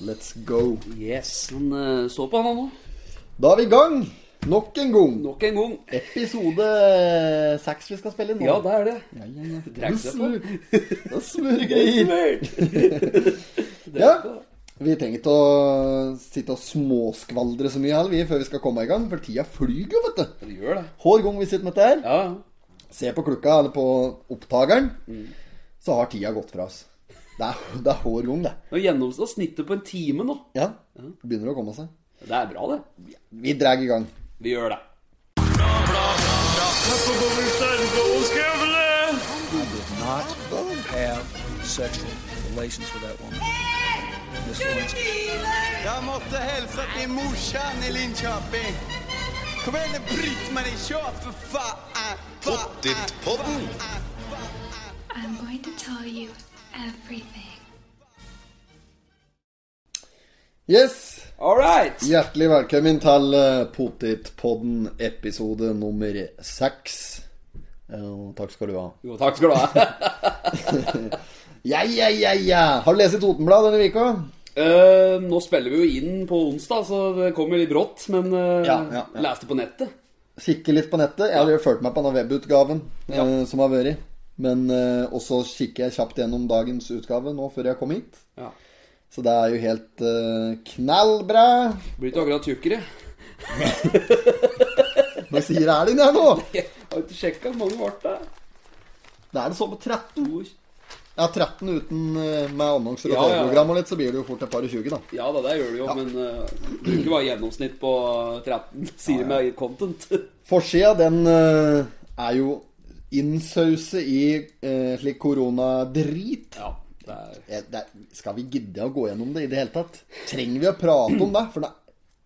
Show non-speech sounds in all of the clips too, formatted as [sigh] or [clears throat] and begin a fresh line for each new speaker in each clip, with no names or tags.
Let's go.
Yes, han eh, så på han han nå.
Da er vi i gang. Nok en gang.
Nok en gang.
Episode seks vi skal spille nå.
Ja, det er det.
ja, ja, ja.
Drekk seg på.
Det er smørgreier.
[laughs] Smurt!
Ja. Vi trenger ikke å sitte og småskvaldre så mye heller, vi, før vi skal komme i gang. For tida flyr jo, vet du.
Det gjør det.
Hver gang vi sitter med dette her,
Ja,
ser på klokka eller på opptakeren, så har tida gått fra oss. Det er, det er hver gang, det.
Nå gjennomstår snittet på en time nå.
Ja. Begynner å komme seg.
Det er bra, det.
Vi drar i gang.
Vi gjør det.
not have sexual relations with that woman. Miss Lewinsky.
Jeg måtte hilse til morsan i Linköping. Kom igjen, Britt-Marie, kjør, for faen! Pottit-podden!
I'm going to tell you everything.
Yes!
All right!
Hjertelig velkommen til eh, Potetpodden episode nummer seks. Eh, Takk skal du ha.
Jo, takk skal du ha. [laughs]
Ja, ja, ja, ja! Har du lest i Totenblad denne vika?
Eh, nå spiller vi jo inn på onsdag, så det kommer litt brått, men eh,
Ja, ja, ja.
leste på nettet.
Kikke litt på nettet. Jeg har jo fulgt meg på denne webutgaven eh,
Ja.
som har vært. Men eh, også kikker jeg kjapt gjennom dagens utgave nå før jeg kom hit.
Ja.
Så det er jo helt eh, knallbra.
Blir ikke akkurat tjukkere. [laughs]
Hva sier Erling her nå?
Jeg har ikke sjekka hvor mange ble det.
Da er det sånn på 13.
To-
Ja, 13 uten eh, med annonser og
Ja, ja, ja.
TV-program og litt, så blir det jo fort et par og 20, da.
Ja da, det gjør det jo, men eh, det er jo ikke bare gjennomsnitt på 13 sider med content.
Forsida den eh, er jo innsause i eh, slik koronadrit.
ja, det er
Eh, det er- Skal vi gidde å gå gjennom det i det hele tatt? Trenger vi å prate om det? For nei,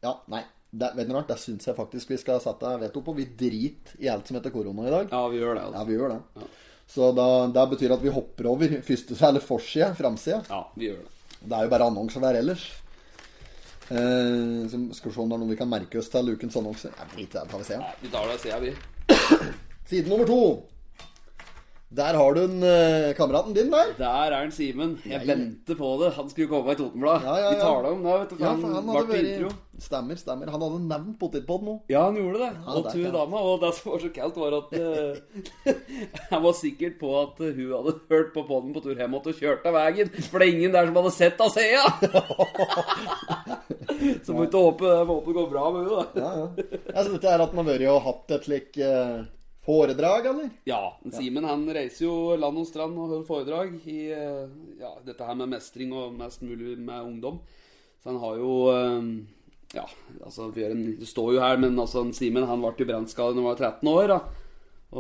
ja, nei det, vet du noe rart, det syns jeg faktisk vi skal sette veto på. Vi driter i alt som heter korona i dag.
Ja, vi gjør det, altså.
Ja, vi gjør det. Så da, det betyr at vi hopper over første, eller forsida, framsida.
Ja, vi gjør det.
Det er jo bare annonser der ellers. Eh, så skal vi se om det er noe vi kan merke oss til ukens annonser. Nei, drit i det, tar vi se.
Nei, vi tar det, ser jeg, vi.
Side nummer to. Der har du en eh, kameraten din der.
Der er en Simen. Jeg venter på det. Han skulle komme i Totenblad.
Ja, ja, ja.
Vi tar det om det, vet du. for
Ja, for han hadde
ble
vært
intro.
Stemmer, stemmer. Han hadde nevnt potetpod nå.
Ja, han gjorde det. og
det er
tu
kaldt.
dama. Og det som var så kaldt, var at eh, [laughs] Jeg var sikker på at eh, hun hadde hørt på podden på tur hjem og kjørte av veien. For det er ingen der som hadde sett av Sea! [laughs] så må vi ikke håpe, må håpe det går bra med henne, da.
Ja, ja. Jeg synes dette er at han har vært og hatt et slik eh, foredrag, eller?
Ja. Simen han reiser jo land og strand og holder foredrag i eh, ja, dette her med mestring og mest mulig med ungdom. Så han har jo eh, Ja, altså vi gjør en, det står jo her, men altså Simen han ble jo brannskadet da han var 13 år. da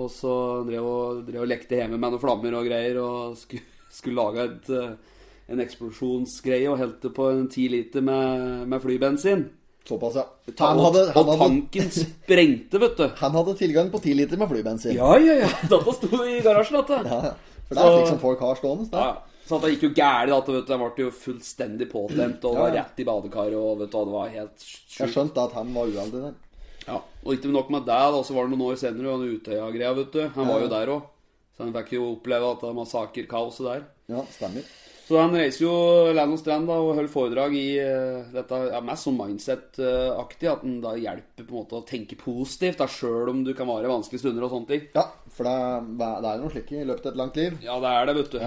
Og så drev og, drev og lekte hjemme med noen flammer og greier og skulle, skulle lage et, eh, en eksplosjonsgreie og helte på en 10 liter med, med flybensin.
Såpass, ja. Han
Og,
hadde, han
og
hadde,
tanken sprengte, vet du.
han hadde tilgang på 10 liter med flybensin.
Ja, ja, [laughs] ja. Dette sto i garasjen, dette.
Ja, ja. For det er
Så-
slik som folk har stående.
Ja,
Da.
ja. Så at det gikk jo gærlig, da, at vet du, jeg ble jo fullstendig påtent og
Ja, ja.
var rett i badekaret og vet du, og det var helt
Jeg
sjukt.
skjønte at han var uheldig der.
Ja. Og ikke nok med det, da, så var det noen år senere jo den Utøya-greia, vet du. Han var jo der òg. Så han fikk jo oppleve at det var massaker-kaoset der.
Ja, stemmer.
Så han reiser jo land og strand da, og holder foredrag i eh, dette ja, mest sånn mindset-aktig, at han da hjelper på en måte å tenke positivt, da, sjøl om du kan være i vanskelige stunder og sånne ting.
Ja, for det, det er jo noe slikt i løpet av et langt liv.
Ja, det er det, vet du.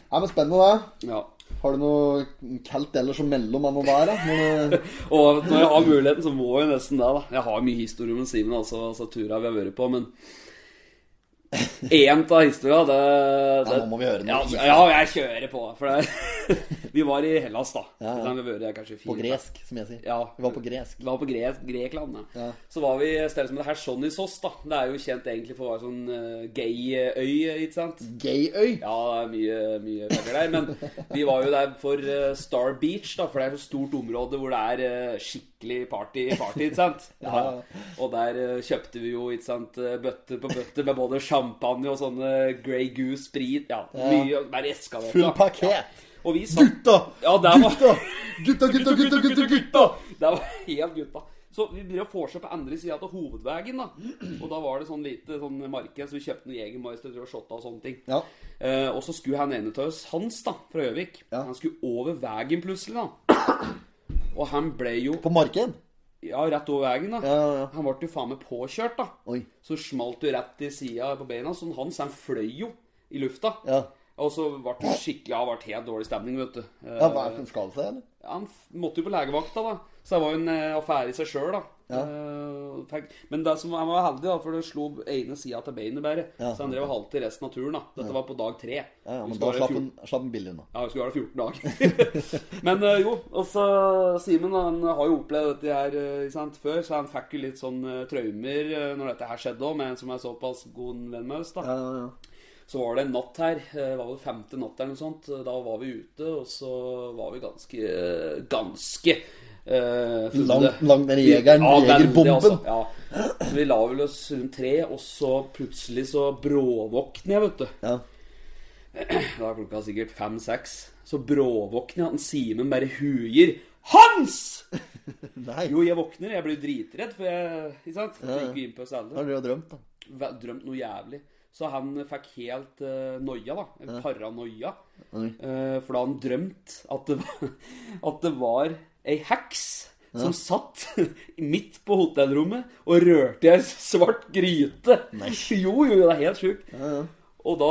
Ja, men spennende, det.
ja.
Har du noe kaldt ellers som mellom enn å være? Men, eh,
Og når jeg har muligheten, så må jeg nesten det, da. Jeg har mye historie med Simen, altså, altså turer vi har vært på, men Én av historia, det, det
nå må vi høre noe.
ja, altså, ja, jeg kjører på. For det, [laughs] vi var i Hellas, da.
Ja, ja.
Da vi var der kanskje fire-
på gresk, som jeg sier.
Ja.
Vi var på gresk.
Vi var på Gre Grekland, ja.
Ja.
Så var vi et sted som heter Hersonisos, da. Det er jo kjent egentlig for å være sånn eh, gay-øy, ikke sant?
Gayøy.
Ja, det er mye, mye penger der. Men vi var jo der for eh, Star Beach, da, for det er et så stort område hvor det er eh, skikkelig party, party ikke sant? Ja. Og der eh, kjøpte vi jo ikke sant, eh, bøtter på bøtter med både champagne og sånne Grey Goose sprit. Ja, mye, bare eska det.
Full
da. Ja.
pakket.
Og vi satt
Gutta!
Ja, der var-
gutta! Gutta, gutta, gutta, gutta, gutta!
Det var helt gutta. Så vi begynner å forse på andre sida av hovedveien, da. Og da var det sånn lite sånn marked, så vi kjøpte noen Jegermeister og shotta og sånne ting.
Ja.
Eh, og så skulle han ene av oss, Hans da, fra Gjøvik,
Ja.
han skulle over veien plutselig, da. Og han ble jo
På marked?
Ja, rett over veien, da.
Ja, ja.
Han ble jo faen meg påkjørt, da.
Oi.
Så smalt jo rett i sida på beina. Så han, så han fløy jo i lufta.
Ja.
Og så ble det skikkelig Ja, det ble helt dårlig stemning, vet du. Eh,
ja hva er det som skader seg, eller?
han f- måtte jo på legevakta, da. Så det var jo en eh, affære i seg sjøl, da.
Ja.
Eh, tenk- Men det som, han var heldig, da, for det slo ene sida til beinet bare.
Ja.
Så han drev og halte i resten av turen. da Dette var på dag tre.
Ja, ja,
Vi
men
skulle
da
være
slapp
14
han, slapp han billig unna.
ja, vi skulle ha det 14 dager. [laughs] Men eh, jo, og så Simen han har jo opplevd dette her eh, ikke sant, før, så han fikk jo litt sånn eh, traumer eh, når dette her skjedde òg, med en som er såpass god venn med oss. da.
Ja, ja, ja.
Så var det en natt her, eh, var det femte natt eller noe sånt, Eh, da var vi ute, og så var vi ganske, eh, ganske eh, fulle.
Langt- langt ned i jegeren,
veldig, altså.
jegerbomben.
ja. Så vi la vel oss rundt tre, og så plutselig så bråvåkner jeg, vet du.
ja. [laughs]
Da er klokka sikkert fem-seks. Så bråvåkner jeg, han Simen bare huier. Hans!
Nei,
Jo, jeg våkner, jeg blir jo dritredd, for jeg Ikke sant? Så gikk vi inn på
da har
stedet.
du jo drømt, da.
Væ- Drømt noe jævlig. Så han fikk helt eh, noia, da. En Paranoia.
Oi.
Eh, for da han drømt at det var, [laughs] at det var ei heks som satt [laughs] midt på hotellrommet og rørte i ei svart gryte. [laughs] Jo, jo, det er helt sjukt. Og da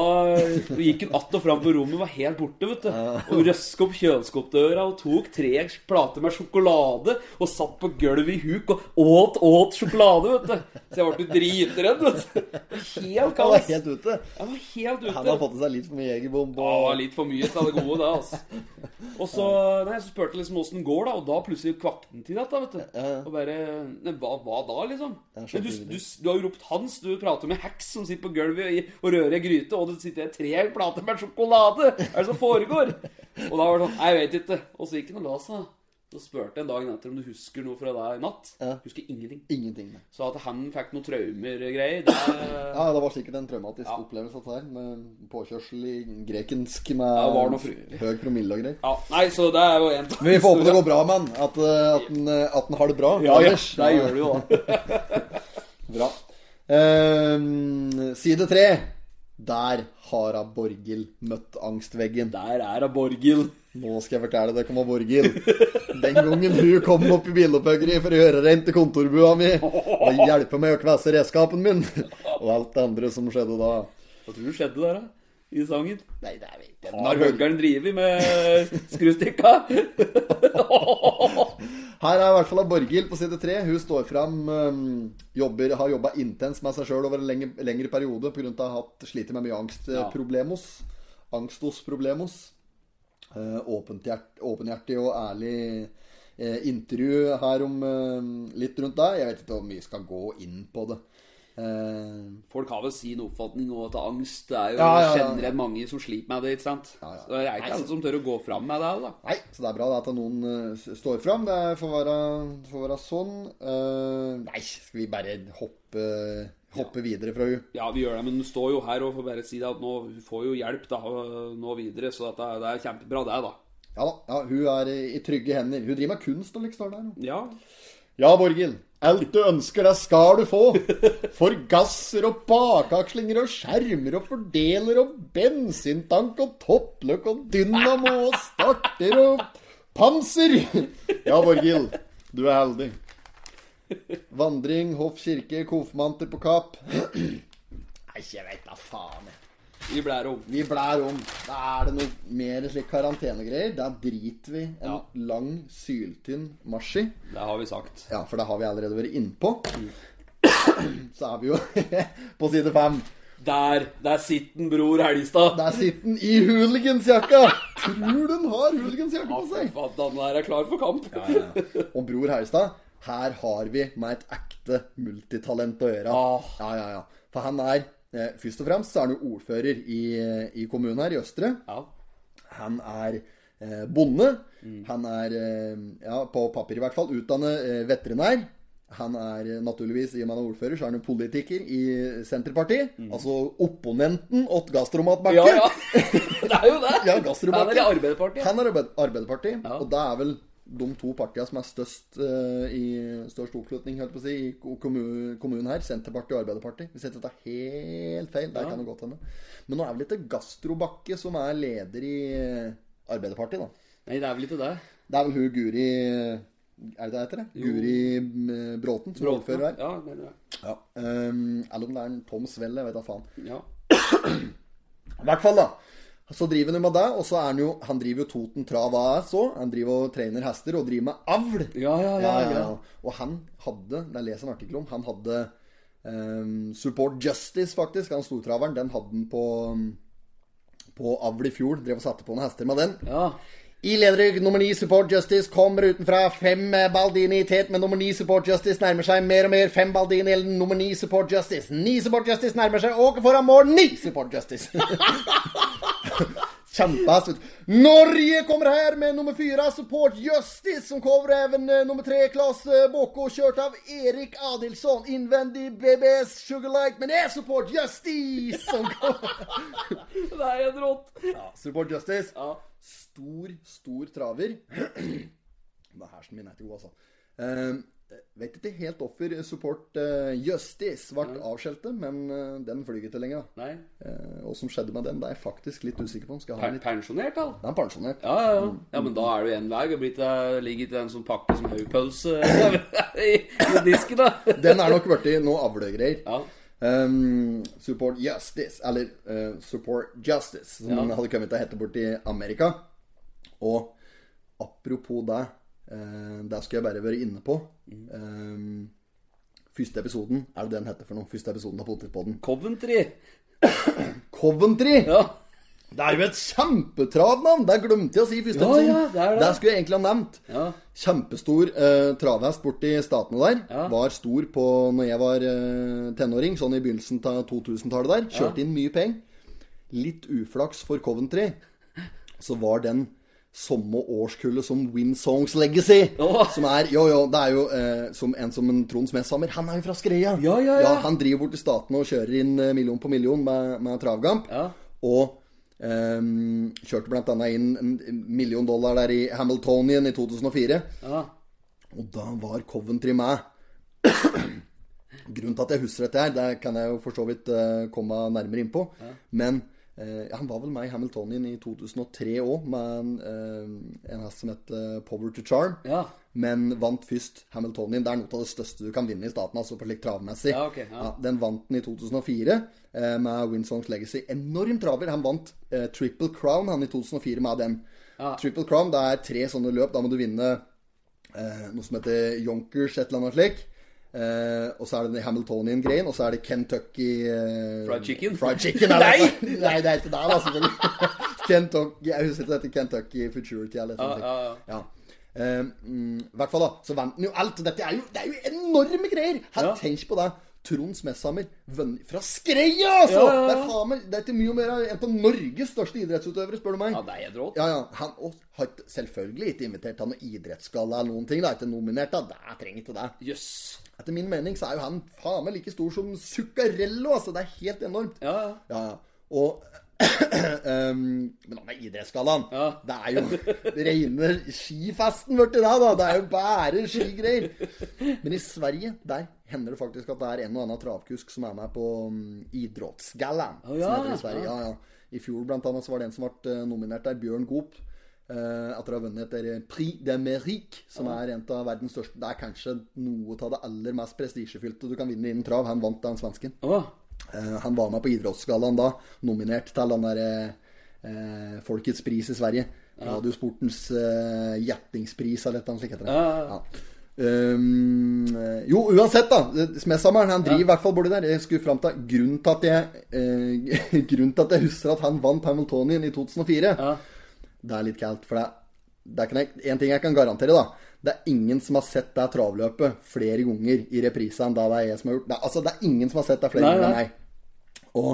gikk hun att og fram på rommet, var helt borte, vet du. Og røska opp kjøleskapdøra og tok tre plater med sjokolade og satt på gulvet i huk og åt, åt sjokolade, vet du. Så jeg ble jo dritredd, vet du. Helt
Han var
kaos.
helt ute.
Jeg var helt ute.
Han har fått i seg litt for mye jegerbombe.
Ja,
og-
litt for mye til det gode, det, altså.
[laughs]
Og så, nei, så spurte jeg liksom åssen det går, da, og da plutselig kvakk den til dette, vet du.
ja.
Og bare Nei, hva, hva da, liksom?
Ja, skjønte
Men du,
du
du, du har jo ropt Hans, du prater med heks som sitter på gulvet i- og rører i gryte, og det sitter tre plater med sjokolade! Hva er det som foregår? Og da var det sånn Nei, jeg vet ikke. Og så gikk han og la seg. Så spurte jeg en dag etter om du husker noe fra deg i natt.
Ja.
Husker ingenting.
Ingenting. nei.
Så at han fikk noen traumer og greier, det
[laughs] Ja, det var sikkert en traumatisk
Ja.
opplevelse, dette her. Med påkjørsel i grekensk med
det var noe fryktelig.
høy promille og greier.
Ja, nei, så det er jo en
Men vi får håpe det går bra med han. At, eh, at, han, eh, at han har det bra.
Ja, ja,
ellers.
det gjør det jo da.
Bra. Ehm, side tre. Der har hun Borghild møtt angstveggen.
Der er det Borghild.
Nå skal jeg fortelle deg om hun Borghild. Den gangen hun kom opp i bilopphøggeriet for å gjøre rent til kontorbua mi og hjelpe meg å kvesse redskapen min, og alt det andre som skjedde da.
Hva tror du skjedde der, da? I sangen?
Nei, det er ikke
Har høggeren drevet med
[laughs]
skrustikka?
Her er i hvert fall Borghild på side tre. Hun står fram, øhm, jobber, har jobba intenst med seg sjøl over en lenge, lengre periode pga. at hun har hatt- slitt med mye øh, angstproblemos. Angstosproblemos. Eh, åpent hjert- Åpenhjertig og ærlig eh, intervju her om øhm, litt rundt deg. Jeg vet ikke hvor mye jeg skal gå inn på det. Eh,
Folk har vel sin oppfatning og at angst Det er jo
Ja, ja, ja.
generelt mange som sliter med det, ikke sant?
Ja, ja.
Så det er ikke alle som tør å gå fram med det, da.
nei, så det er bra det at noen eh, s- står fram. Det er- får være, får være sånn. Eh, nei, skal vi bare hoppe, hoppe videre fra henne?
Ja, vi gjør det, men du står jo her og får bare si det at nå hun får jo hjelp da, nå videre, så at det, det er kjempebra, det, da.
Ja da, ja, hun er i i trygge hender. Hun driver med kunst og liksom står der. hun.
Ja.
Ja, Borghild. Alt du ønsker deg, skal du få. Forgasser og bakakslinger og skjermer og fordeler og bensintank og toppløk og dynamo og starter og panser. Ja, Borghild. Du er heldig. Vandring, hoff, kirke, konfirmanter på Kapp. [clears throat] Nei, jeg veit da faen, jeg.
Vi blærer om.
Vi blær om. Da er det noe mer slik karantenegreier. Da driter vi en
Ja.
lang, syltynn marsj i.
Det har vi sagt.
Ja, for det har vi allerede vært innpå. Så er vi jo [laughs] på side fem.
Der! Der sitter den, bror Helgestad.
Der sitter den i hooligansjakka! Tror du den har hooligansjakke på seg?
Fattan er klar for kamp.
Og Bror Haugstad, her har vi med et ekte multitalent å gjøre.
Ah.
Ja, ja, ja. For han er eh, Først og fremst så er han jo ordfører i, eh, i kommunen her, i Østre.
[laughs] Ja.
Han er eh, bonde. Han er, eh, ja, på papir i hvert fall, utdannet eh, veterinær. Han er eh, naturligvis, i og med han er ordfører, så er han jo politiker i Senterpartiet. Altså opponenten åt Gastromat Bakke.
Mhm. Ja, ja. [laughs]
[laughs]
Det er jo det.
Ja, Gastromat.
Han er i Arbeiderpartiet.
Han er arbeid Arbeiderpartiet,
Ja.
og det er vel de to partiene som er størst, eh, i, størst oppslutning holdt på å si, i ko- kommu- kommunen her. Senterpartiet og Arbeiderpartiet. Hvis jeg ikke tar helt feil. Der kan det godt hende. Men nå er vel ikke Gastrobakke som er leder i eh, Arbeiderpartiet, da.
Nei, det er vel ikke det.
Det er vel hun Guri Er det det heter? det? Guri eh, Bråten, som er ordfører her.
Ja, mener jeg.
Ja. Um, eller om det er en Tom Svell, jeg vet da faen.
Ja.
I hvert fall, da. Så driver han jo med det, og så er han jo Han driver jo Toten Trav AS òg. Han driver og trener hester og driver med avl.
Ja, ja, ja,
Ja, ja,
ja.
ja. Og han hadde, det leser en artikkel om, han hadde ehm, Support Justice, faktisk. Han stortraveren. Den hadde han på, på avl i fjor. Drev og satte på noen hester med den.
ja.
I lederrygg nummer ni Support Justice kommer utenfra. Fem eh, Baldini i tet med nummer ni Support Justice nærmer seg mer og mer. Fem Baldini eller nummer ni Support Justice. Ni Support Justice nærmer seg og foran mål ni Support Justice. [laughs] Kjempehest. vet du. Norge kommer her med nummer fire Support Justice, som cover even eh, nummer tre Claes eh, Båkå, kjørt av Erik Adilson. Innvendig BBS Sugarlight, men det er Support Justice som kommer. [laughs]
Det er helt rått.
Ja, Support Justice.
Ja.
Stor, stor traver. [clears throat] Det er hersen min er ikke god, altså. Eh, vet ikke helt hvorfor Support eh, Justice ble avskjeltet, men eh, den flyr ikke lenger. da.
Nei.
Eh, og som skjedde med den, det er jeg faktisk litt usikker på. Skal jeg ha
Per
litt
pensjonert, da.
Den er pensjonert.
Ja, ja, ja. ja, men da er du én vei. Det blir ikke- ligger ikke en sånn pakke som haugpølse [laughs] i, i disken, da.
Den er nok blitt noe avlegreier.
Ja.
Um, support Justice, eller eh, Support Justice, som den hadde kommet til å hete borti Amerika. Og apropos det, eh, der skal jeg bare være inne på. Um, første episoden, er det det den heter for noe? Første episoden av Potetpodden.
Coventry.
Coventry!
Ja.
Det er jo et kjempetravnavn! Det glemte jeg å si i første
Ja,
episode.
ja, det er det.
skulle jeg egentlig ha nevnt.
Ja.
Kjempestor eh, travhest borti statene der.
Ja.
Var stor på når jeg var eh, tenåring, sånn i begynnelsen av 2000-tallet der. Kjørte inn mye penger. Litt uflaks for Coventry, så var den samme årskullet som Winsongs Legacy.
Åh.
Som er Jo, jo, det er jo eh, som en som en Trond Smedshammer. Han er jo fra Skreia.
Ja, ja, ja.
han driver bort til statene og kjører inn eh, million på million med, med travgamp.
Ja.
Og ehm, kjørte blant annet inn en million dollar der i Hamiltonian i 2004.
ja.
Og da var Coventry med. Grunnen til at jeg husker dette her, det kan jeg jo for så vidt eh, komme nærmere inn på. Men eh, han var vel med i Hamiltonian i 2003 òg, med en, eh, en hest som het eh, Power to Charm.
Ja.
Men vant først Hamiltonian. Det er noe av det største du kan vinne i staten, altså på slik travmessig.
Ja, ok, ja.
den vant den i 2004 eh, med Winsongs Legacy. Enorm traver. Han vant eh, Triple Crown han i 2004 med den. Triple Crown, det er tre sånne løp. Da må du vinne eh, noe som heter Yonkers, et eller annet slik. Eh, og så er det den Hamiltonian-greien, og så er det Kentucky eh,
Fried chicken?
Fried chicken er
[laughs] Nei!
det. Nei, det er ikke der, da, selvfølgelig. [laughs] Kentucky, jeg husker ikke dette Kentucky Futurity eller noe sånt.
Ja, ja,
Ja. Eh, mm, I hvert fall, da, så vant han jo alt. Dette er jo, det er jo enorme greier! Her,
Ja.
Tenk på det. Trond Smesshammer, venn fra Skreia, altså!
Ja, ja, ja.
Det er faen meg Det er ikke mye mer enn på Norges største idrettsutøvere, spør du meg.
Ja, det er helt rått.
Ja, ja. Han og har ikke- selvfølgelig ikke invitert til noen idrettsgalla eller noen ting. Da. Ikke nominert, da. Det trenger ikke det.
Jøss.
Etter min mening så er jo han faen meg like stor som Zuccarello, altså. Det er helt enormt.
Ja, ja.
Ja, ja. Og [clears throat] um, Men han er idrettsgallaen.
Ja.
Det er jo rene skifesten borti der, da. Det er jo bare skigreier. Men i Sverige, der hender det faktisk at det er en og annen travkusk som er med på um, idrettsgallaen.
Å, ja,
som heter i Sverige. Ja, ja. I fjor blant annet så var det en som ble eh, nominert der, Bjørn Goop. eh, etter å ha vunnet et Prix de Mérique, som er en av verdens største Det er kanskje noe av det aller mest prestisjefylte du kan vinne innen trav. Han vant, den svensken.
Å.
Eh, han var med på Idrettsgallaen da, nominert til den der eh, Folkets pris i Sverige. Radiosportens eh, gjettingspris, eller noe slikt. heter det.
Ja, ja, ja.
Ja. Um, eh, jo, uansett, da. eh, Smedsammeren han driver i hvert fall borti der. Jeg skulle fram til grunnen til at jeg eh, [laughs] Grunnen til at jeg husker at han vant Hamiltonian i 2004.
Ja.
Det er litt kaldt, for det, det kan jeg, En ting jeg kan garantere, da. Det er ingen som har sett det travløpet flere ganger i reprise enn det det er jeg som har gjort. Det, er- altså, det er ingen som har sett det flere
Nei,
ganger enn
nei.
meg. Og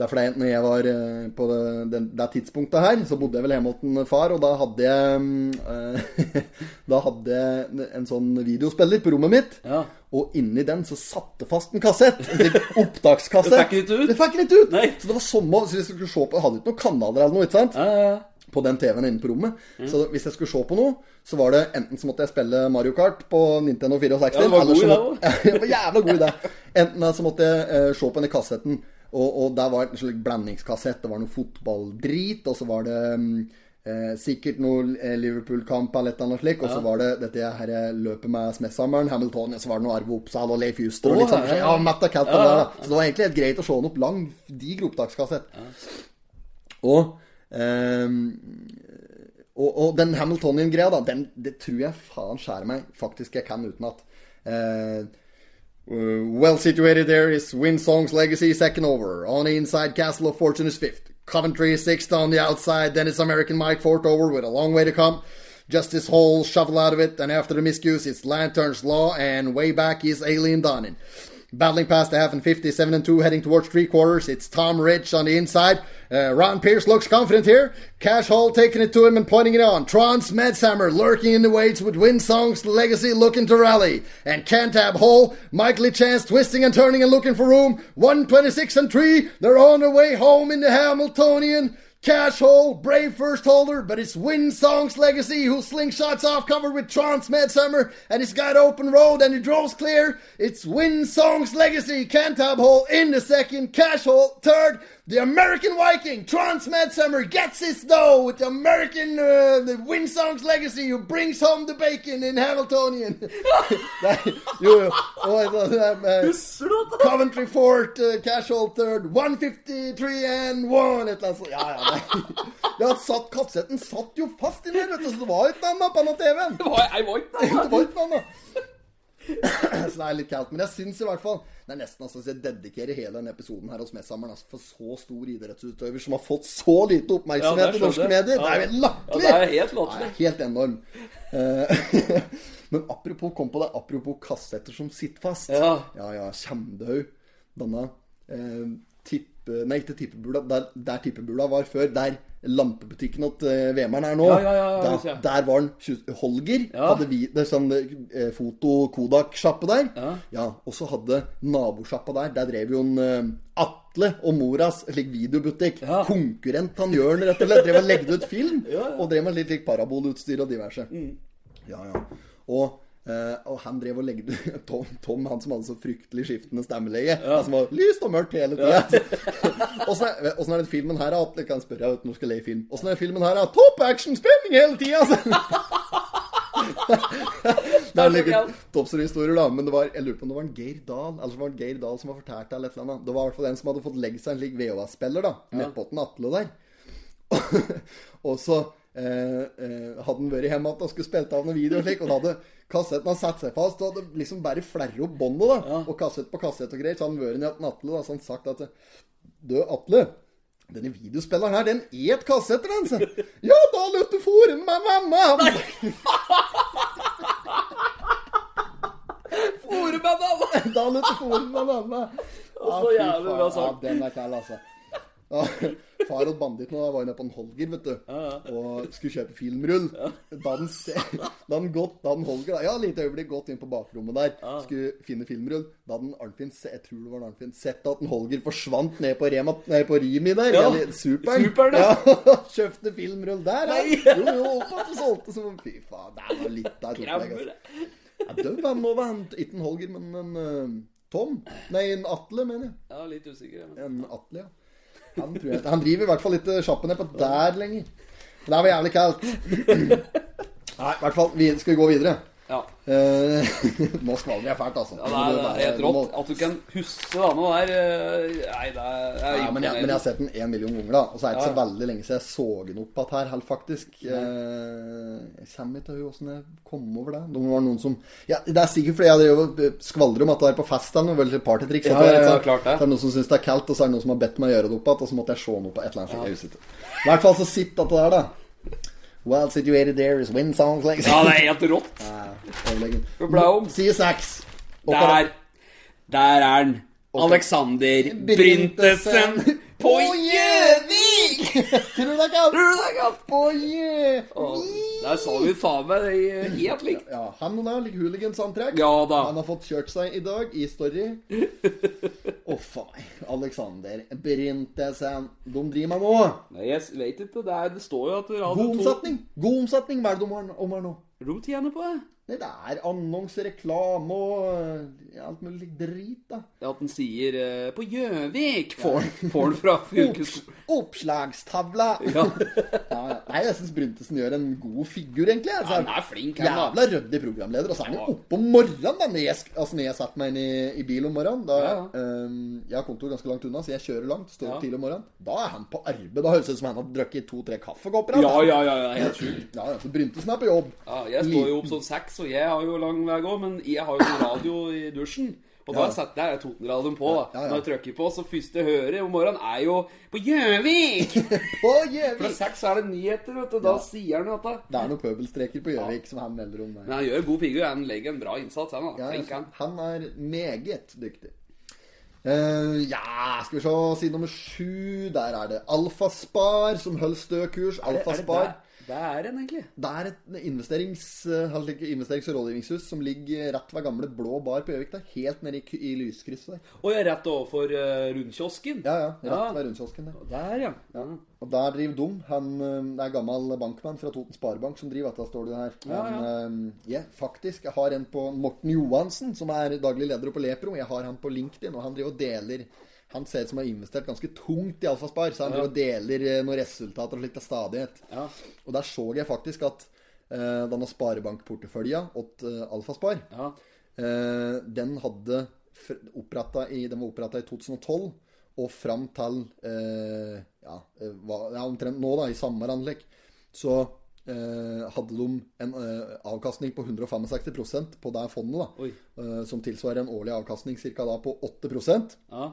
det er fordi når jeg var eh, på det, den- det tidspunktet her, så bodde jeg vel hjemme hos en far, og da hadde jeg mm, eh, [laughs] Da hadde jeg en sånn videospiller på rommet mitt,
Ja.
og inni den så satte fast en kassett. En
[laughs]
opptakskassett.
Det fikk den ikke ut?
Det fikk den ikke ut.
Nei.
Så det var sommer, så vi skulle se på Hadde ikke noen kanaler eller noe, ikke sant?
Ja, ja, ja.
på den TV-en inne på rommet.
Mm.
Så hvis jeg skulle se på noe, så var det enten så måtte jeg spille Mario Kart på Nintendo 64
Ja, du var
eller så
god i det
måtte... [laughs] Jeg var jævla god i det. Enten så måtte jeg eh, se på denne kassetten, og, og der var en slags blandingskassett. Det var noe fotballdrit, og så var det mm, eh, sikkert noe eh, Liverpool-kamp eller et eller annet slik. Og så var det dette her eh, løpet med Smessammeren, Hamilton, og så var det noe Arve Oppsal og Leif Juster og litt sånn.
ja,
Ja,
ja.
Matt og Cat og det, da. Så det var egentlig helt greit å se den opp lang, diger opptakskassett. Og ehm, og, og den Hamiltonian-greia, da, den, det tror jeg faen skjærer meg faktisk jeg kan utenat. Eh, Uh, well situated there is Winsong's legacy second over. On the inside, Castle of Fortune is fifth. Coventry is sixth on the outside. Then it's American Mike Fort over with a long way to come. Justice Hall shuffle out of it, and after the miscues, it's Lantern's Law, and way back is Alien Donning. Battling past the half and 50, 7 and 2, heading towards three quarters. It's Tom Rich on the inside. Uh, Ron Pierce looks confident here. Cash Hall taking it to him and pointing it on. Tron Smedshammer lurking in the weights with Winsong's legacy looking to rally. And Cantab Hall, Michael Chance twisting and turning and looking for room. 126 and 3. They're on their way home in the Hamiltonian. Cash Hall, brave first holder, but it's Winsong's legacy who slingshots off cover with Trance Midsummer, and it's got open road and he draws clear. It's Winsong's legacy, Cantab Hall in the second, Cash Hall third. The American Viking, Trance Midsummer, gets his dough with the American uh, the Winsong's legacy who brings home the bacon in Hamiltonian. [laughs] Nei, jo, jo. Og, eh, eh, Coventry Fort, uh, Casual Third, 153 and 1 Et eller annet sånt. Ja, ja, nei. Det [laughs] har satt, kassetten satt jo fast inni her, vet du, så det var jo ikke noe annet på den TV-en.
Det var, jeg var ikke der,
Det var ikke noe annet. Så det er litt kaldt. Men jeg syns i hvert fall Det er nesten altså, jeg dedikerer hele denne episoden her hos Messhammeren altså, for så stor idrettsutøver som har fått så lite oppmerksomhet
Ja, det
i norske
skjønner jeg.
medier. Det er
Ja.
jo latterlig!
Ja, det er helt latterlig.
Det er helt enorm. Eh, [laughs] Men apropos kom på det, apropos kassetter som sitter fast.
Ja.
ja, ja Kjemdhaug. Denne eh, tippe... Nei, ikke tippebula. Der, der tippebula var før. Der lampebutikken til eh, Vemern er nå.
Ja, ja, ja, ja, det ser
der,
jeg.
der var han tjue- Holger.
Ja.
Hadde vi, det er sånn eh, foto-Kodak-sjappe der.
Ja.
Og så hadde nabosjappa der Der drev jo en eh, Atle og moras slik videobutikk.
Ja.
Konkurrent han Jørn, rett og slett. Drev og legde ut
[laughs]
film. Og drev med litt slik parabolutstyr og diverse.
Mm.
Ja, ja. Og, eh, og han drev og legde [laughs] Tom, Tom, han som hadde så fryktelig skiftende stemmeleie. Han som var lyst og mørkt hele [laughs] tida. Åssen eh, er, åssen er den filmen her, da? Jeg kan spørre uten å skulle le i film. Åssen er den filmen her, da? Topp action-spenning hele tida! Altså. det er like toppstorier, da. Men det var, jeg lurer på om det var en Geir Dahl eller så var det Geir Dahl som har fortalt deg eller et eller annet. Det var i hvert fall en som hadde fått legge seg en slik VHS-spiller, da. Nedpå til Atle der. Og [laughs] så eh, eh, hadde han vært hjemme igjen og skulle spilt av noen video og slik, og da hadde kassetten hadde satt seg fast, og hadde liksom bare flerret opp båndet, da. Og kassett på kassett og greier. Så hadde han vært nede til Atle, da, så han sagt at Du, Atle. Denne videospilleren her, den et kassetter, den, sa [laughs] Ja, da lot du fòre den med mamma!
Ordet med
[laughs]
det,
Da lot du fòre den med mamma! Ja,
Så
fy
jævlig bra
faen,
sagt.
Ja, den er kald, altså. Ja, [laughs] far og banditten og da var jo nede på en Holger, vet du. Og skulle kjøpe filmrull. Da den, se- da den, gått, da den Holger da, Ja, litt øyeblikk gått inn på bakrommet der. Skulle finne filmrull. Da den Arnfinn se- Jeg tror det var den Arnfinn. Sett at den Holger forsvant ned på, Rema, nei, på Rimi der.
Ja.
Eller Superen.
Superen, ja.
ja. [laughs] Kjøpte filmrull der, ja. Jo, jo, opp at du solgte som Fy faen, det var litt av et
da!
opplegg. altså. Ja, Det var noe annet. Ikke en Holger, men en eh, Tom. Nei, en Atle, mener jeg.
Jeg var litt usikker. Men.
En Atle, ja. Han, tror jeg, han driver i hvert fall ikke sjappen ned på der lenger. Men Det var jævlig kaldt. Nei, i hvert fall. Vi skal vi gå videre.
Ja.
Eh, [laughs] nå skvalver jeg fælt, altså.
Ja, det er, det er helt
Nå må-
rått. At du kan huske dama der eh, Nei, det er, det er
Ja, men, jeg, men jeg har sett den én million ganger, da. Og så er det ikke
Ja,
så
ja.
veldig lenge siden jeg så den opp igjen her, helt faktisk. Eh, jeg kommer ikke til åssen jeg kom over det. Det var noen som ja, Det er sikkert fordi jeg drev og skvaldrer om at det er på fest eller noe, vel partytriks.
Ja,
at det er-
ja, ja, klart det.
Så er det noen som syns det er kaldt, og så er det noen som har bedt meg gjøre det opp igjen, og så måtte jeg se noe på et eller annet. slikt, jeg husker ikke. I hvert fall så sitter dette der, da. Well situated there is wind songs like
Ja,
[laughs]
det er helt [laughs] rått.
ja,
ble om.
Side seks.
Der. Der er den. Alexander Bryntesen på Gjøvik!
[laughs] Tror du det er kaldt?
Tror du det er kaldt?
På Gjøvik!
Å, Der sa vi faen meg det i- eh, helt likt.
Ja, han og da, like hooligans-antrekk.
Ja da.
Han har fått kjørt seg i dag, i
[laughs]
story. Å, faen meg. Alexander Brintesen. De driver med nå.
Nei, jeg vet ikke. Det, er, det står jo at Radio
God
2
omsetning. God omsetning. Hva er det de har om her nå?
De tjener på det.
Nei, det er annonser, reklame og eh, alt mulig drit, da.
Det At den sier eh, 'på Gjøvik' får den- får den fra
Opps,
fylkeskolen.
oppslagstavla!
Ja.
Ja, ja. Nei, jeg syns Bryntesen gjør en god figur, egentlig. Altså,
Ja, han er flink, han, da.
Jævla ryddig programleder. Og så er han
Ja.
jo oppe om morgenen, da. Når jeg, sk- altså, når jeg satt meg inn i, i bil om morgenen da,
Ja,
ehm, Jeg har kontor ganske langt unna, så jeg kjører langt. Står opp
Ja.
tidlig om morgenen. Da er han på arbeid. Da høres det ut som han har drukket to-tre kaffekopper.
Ja,
altså.
ja, ja, ja, helt sjukt.
Ja, ja, så Bryntesen er på jobb.
Ja, jeg står jo opp sånn seks, og jeg har jo lang vei å gå, men jeg har jo sånn radio i dusjen. Og da
Ja.
setter jeg Totenradioen på. da.
Ja, ja, ja.
Når jeg trykker på, så første jeg hører om morgenen, er jo 'På Gjøvik'!
Å,
Fra
jævlig!
seks er det nyheter, vet du. Da
Ja.
sier han jo dette.
Det er noen pøbelstreker på Gjøvik som han melder om. der.
Men han gjør en god figur. Han legger en bra innsats, han. da.
Ja,
Flink, han.
han er meget dyktig. Eh, ja, skal vi se Side nummer sju. Der er det Alfaspar som holdt stø kurs. Alfaspar.
Er det der- der er han, egentlig.
Det er et investerings, eh, han liker investerings- og rådgivningshus som ligger rett ved gamle Blå Bar på Gjøvik. der, Helt nede i, ky- i lyskrysset der.
Og jeg er rett overfor eh, rundkiosken.
Ja, ja, Rett
Ja.
ved rundkiosken der.
Der, ja.
Og der driver de. Han eh, det er gammel bankmann fra Toten Sparebank som driver dette, står det her.
Ja, ja.
Han, eh, ja, faktisk. Jeg har en på Morten Johansen, som er daglig leder oppe på Lepro. Jeg har han på LinkedIn, og han driver og deler Han ser ut som han har investert ganske tungt i Alfaspar, så han driver og deler eh, noen resultater og slikt av stadighet.
Ja.
Og der så jeg faktisk at eh, denne sparebankporteføljen åt eh, Alfaspar
ja.
Eh, den hadde oppretta i, den var oppretta i 2012, og fram til eh, ja, eh, hva- ja, omtrent nå, da, i samme anlegg, så eh, hadde de en eh, avkastning på 165 på det fondet, da,
Oi.
eh, som tilsvarer en årlig avkastning cirka da på 8
ja.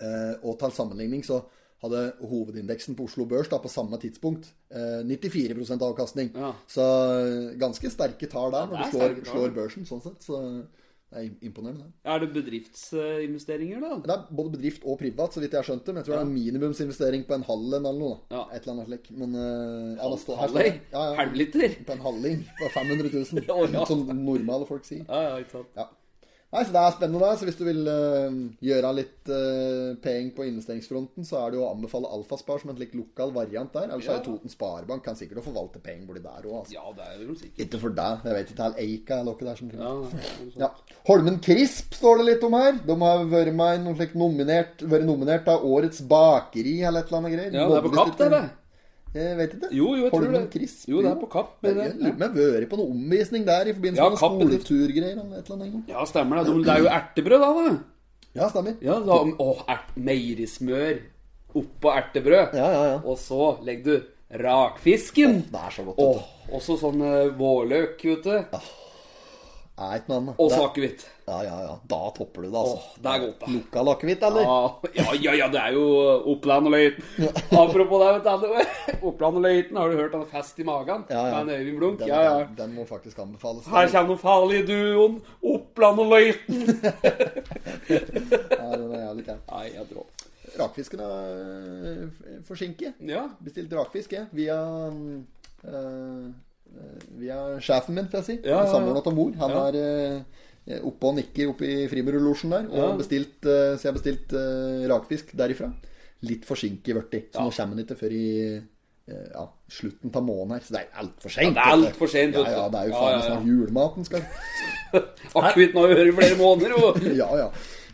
Eh, og til sammenligning så hadde hovedindeksen på Oslo Børs da på samme tidspunkt eh, 94 avkastning.
Ja.
Så eh, ganske sterke tall der når
det
du
er
slår,
sterke tall.
slår børsen, sånn sett. Så det er im- imponerende. det.
Er det bedriftsinvesteringer, da?
Det er både bedrift og privat, så vidt jeg har skjønt det. Men jeg tror det er en minimumsinvestering på en halv en eller noe. da.
Ja.
Et eller annet slik. Men eh, ja, da står- her står
Halvøy?
det. Ja, ja.
Halvliter?
På en halving på 500
[laughs]
000,
Ja, ja.
som normale folk sier.
Ja, ja, ikke sant.
Ja. Nei, så Det er spennende. der, så Hvis du vil eh, gjøre litt uh, penger på investeringsfronten, så er det jo å anbefale Alfaspar som en slik lokal variant der. Ellers er
Ja.
jo Toten Sparebank kan sikkert å forvalte penger borti der òg. Altså.
Ja, det er jo sikkert.
Ikke for deg. Jeg vet ikke. Det er Eika eller noe der som
Ja,
kunne
det er jo sånn.
ja. Holmen Crisp står det litt om her. De har vært med i noen slik nominert Vært nominert av Årets bakeri eller et eller annet greier.
ja det er på Kapp, det,
Mobbelister-
eller?
Jeg vet ikke.
Jo, jo, jeg tror
Holmen
det.
Crisp.
Jo, det er på Kapp, men
Men jeg lurer på
det-
om jeg har vært på noen omvisning der i forbindelse
Ja,
med
Kapp,
noen
det-
skoleturgreier eller et eller annet. en gang.
Ja, stemmer det. Det er jo ertebrød, da. da.
Ja, stemmer.
Ja, da, å, ert, meierismør oppå ertebrød.
Ja, ja, ja.
Og så legger du rakfisken.
Det er så godt.
Åh,
vet du.
også sånn eh, vårløk, vet du.
Det er ikke noe annet.
Og
Det-
sakehvitt.
Ja, ja, ja. Da topper du det, altså.
Åh, det er godt, da.
Lokal akevitt, eller?
Ah, Ja, ja, ja, det er jo Oppland og Løiten. [laughs] Apropos det, vet du. Anne. [laughs] Oppland og Løiten, har du hørt han fest i magen? Med en Øyvind Blunk?
Den,
Ja, ja.
Den må faktisk anbefales.
Her kommer den farlige duoen Oppland og [laughs] Løiten.
Ja, den er jævlig kjent.
Nei, jeg drar.
Rakfisken er eh, forsinket.
Ja.
Bestilt rakfisk, jeg. Via eh, eh, Via sjefen min, får jeg si.
Ja, ja, ja.
Samboeren til mor. Han
Ja.
er eh, oppe og nikker oppe i frimurlosjen der. Og
Ja.
bestilt, eh, så jeg har bestilt eh, rakfisk derifra. Litt forsinket ble de. Så
Ja.
nå kommer den ikke før i eh, ja, slutten av måneden her. Så det er altfor seint.
det er alt for sent,
Ja,
vet du.
ja, det er jo
Ja,
faen
ja,
meg
ja.
snart julematen skal
Akevitten har vi hørt i flere måneder, jo.
[laughs] Ja, ja.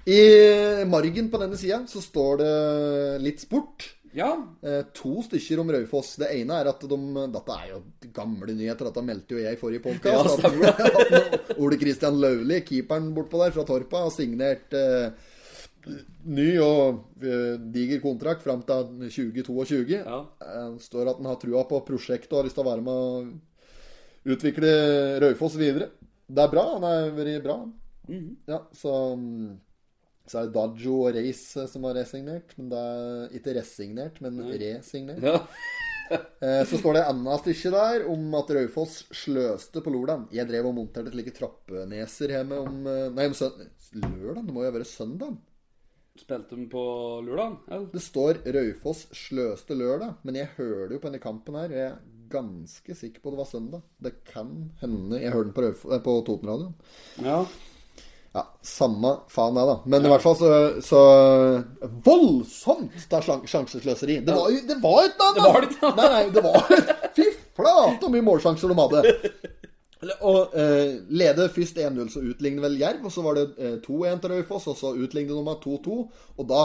I margen på denne sida så står det litt sport.
Ja.
Eh, to stykker om Raufoss. Det ene er at de Dette er jo gamle nyheter, dette meldte jo jeg i forrige podkast. [laughs] Ole Kristian Lauli, keeperen bortpå der fra Torpa, har signert eh, ny og eh, diger kontrakt fram til 2022.
Ja.
Eh, står at han har trua på prosjektet og har lyst til å være med og utvikle Raufoss videre. Det er bra. Han har vært bra. Ja, så mm, så er det Daggio og Race som har resignert. Men det er ikke resignert, men resignert.
ja.
Eh, Så står det et annet stykke der om at Raufoss sløste på lørdag. Jeg drev og monterte slike trappeneser hjemme om eh, Nei, om søndag Lørdag? Det må jo være søndag.
Spilte de på lørdag? eller?
Det står Raufoss sløste lørdag, men jeg hører det jo på denne kampen her. og Jeg er ganske sikker på det var søndag. Det kan hende Jeg hører den på, Raufo- eh, på Totenradioen.
Ja.
Ja, samme faen det, da. Men i hvert fall så, så Voldsomt da sjan- sjansesløseri. Det var jo det var et eller annet! altså.
Det var litt annet.
[laughs] Nei, nei, det var Fy flate så mye målsjanser de hadde. Eller, Og eh, lede først 1-0, så utlignet vel Jerv. Og så var det eh, 2-1 til Raufoss, og så utlignet de med 2-2. Og da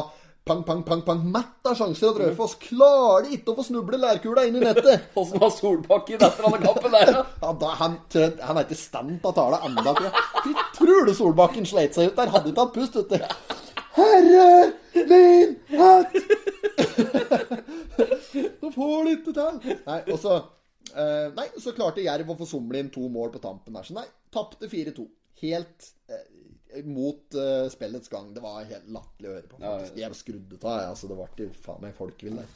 pang, pang, pang, pang, matt av sjanser at Raufoss klarer ikke å få snuble lærkula inn i nettet.
Åssen var Solbakken etter han kampen der, da?
Ja, da, han, trød- han er ikke i stand til å tale enda tror jeg. Fy trule Solbakken sleit seg ut der. Hadde ikke hatt pust, vet du. Herre min hatt! Nå får du ikke til. Nei, og så eh, Nei, så klarte Jerv å få somle inn to mål på tampen der. Så nei, tapte 4-2. Helt eh, mot eh, spillets gang. Det var helt latterlig å høre på. faktisk. Jeg skrudde av, jeg. Altså, det ble til faen meg folkevill der.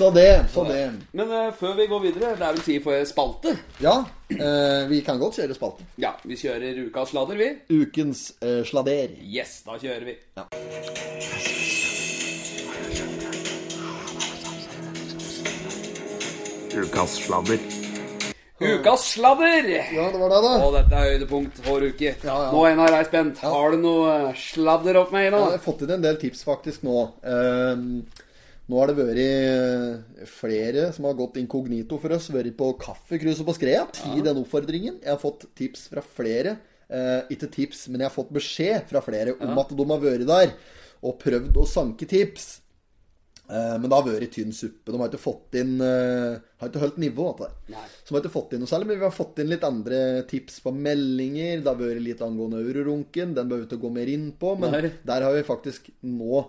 Så det, så det.
Men eh, før vi går videre, det er vel tid for en spalte.
Ja, eh, vi kan godt kjøre spalten.
Ja, vi kjører ukas sladder, vi.
Ukens eh, slader.
Yes, da kjører vi.
Ukas sladder.
Ukas sladder!
Ja, det var det, da.
Og dette er høydepunkt for uke.
ja.
Nå, Einar, er jeg spent. Har du noe eh, sladder opp med,
Jeg har
Einar?
fått inn en del tips faktisk nå. Ehm, nå har det vært eh, flere som har gått inkognito for oss, vært på kaffekruset på Skreia. Ti den oppfordringen. Jeg har fått tips fra flere. Eh, ikke tips, men jeg har fått beskjed fra flere om at de har vært der og prøvd å sanke tips. Eh, men det har vært tynn suppe. De har ikke fått inn eh, Har ikke holdt nivået til det. Så de har ikke fått inn noe særlig, men vi har fått inn litt andre tips på meldinger. Det har vært litt angående eurorunken. Den behøver vi ikke å gå mer inn på, men
Nei.
der har vi faktisk nå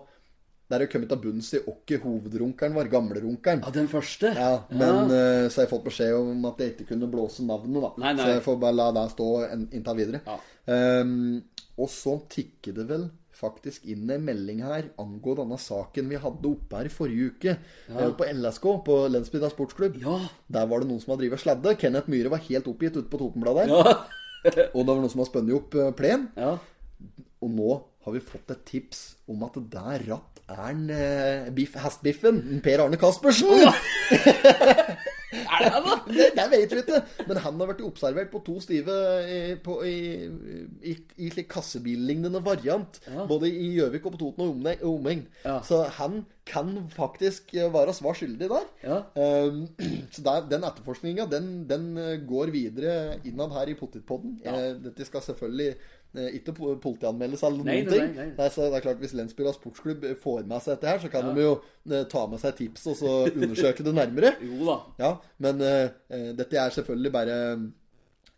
Der har vi kommet til bunns i åkke hovedrunkeren var, gamlerunkeren.
Ja, den første.
Ja, men eh, så har jeg fått beskjed om at jeg ikke kunne blåse navnet, da.
Nei, nei.
Så jeg får bare la det stå en, inntil videre.
Ja.
Ehm, og så tikker det vel faktisk inn en melding her angående denne saken vi hadde oppe her i forrige uke. eh, På LSK, på Lensbygda sportsklubb.
Ja.
Der var det noen som har drevet sladde. Kenneth Myhre var helt oppgitt ute på Totenbladet. her.
Ja.
Og det var noen som har spunnet opp eh, plen.
eh, ja.
Og nå har vi fått et tips om at der ratt er en eh, biff, hestbiffen. en Per Arne Caspersen!
Er det det, da?
[laughs] Det, det vet vi ikke. Men han har vært observert på to stive eh, på, i, i, i slik kassebillignende variant. Både i Gjøvik og på Toten og omne- omegn.
Ja.
Så han kan faktisk eh, være svar skyldig der.
Ja.
Ehm, [clears throat] så der, den etterforskninga, den, den eh, går videre innad her i Pottitpodden. Eh, Dette skal selvfølgelig eh, ikke po- politianmeldes eller
Nei,
noen
nei,
ting.
nei, nei.
Nei, så det er klart Hvis Lensbyrda sportsklubb får med seg dette her, så kan de jo eh, ta med seg tips og så [laughs] undersøke det nærmere.
Jo da.
Ja, men eh, eh, dette er selvfølgelig bare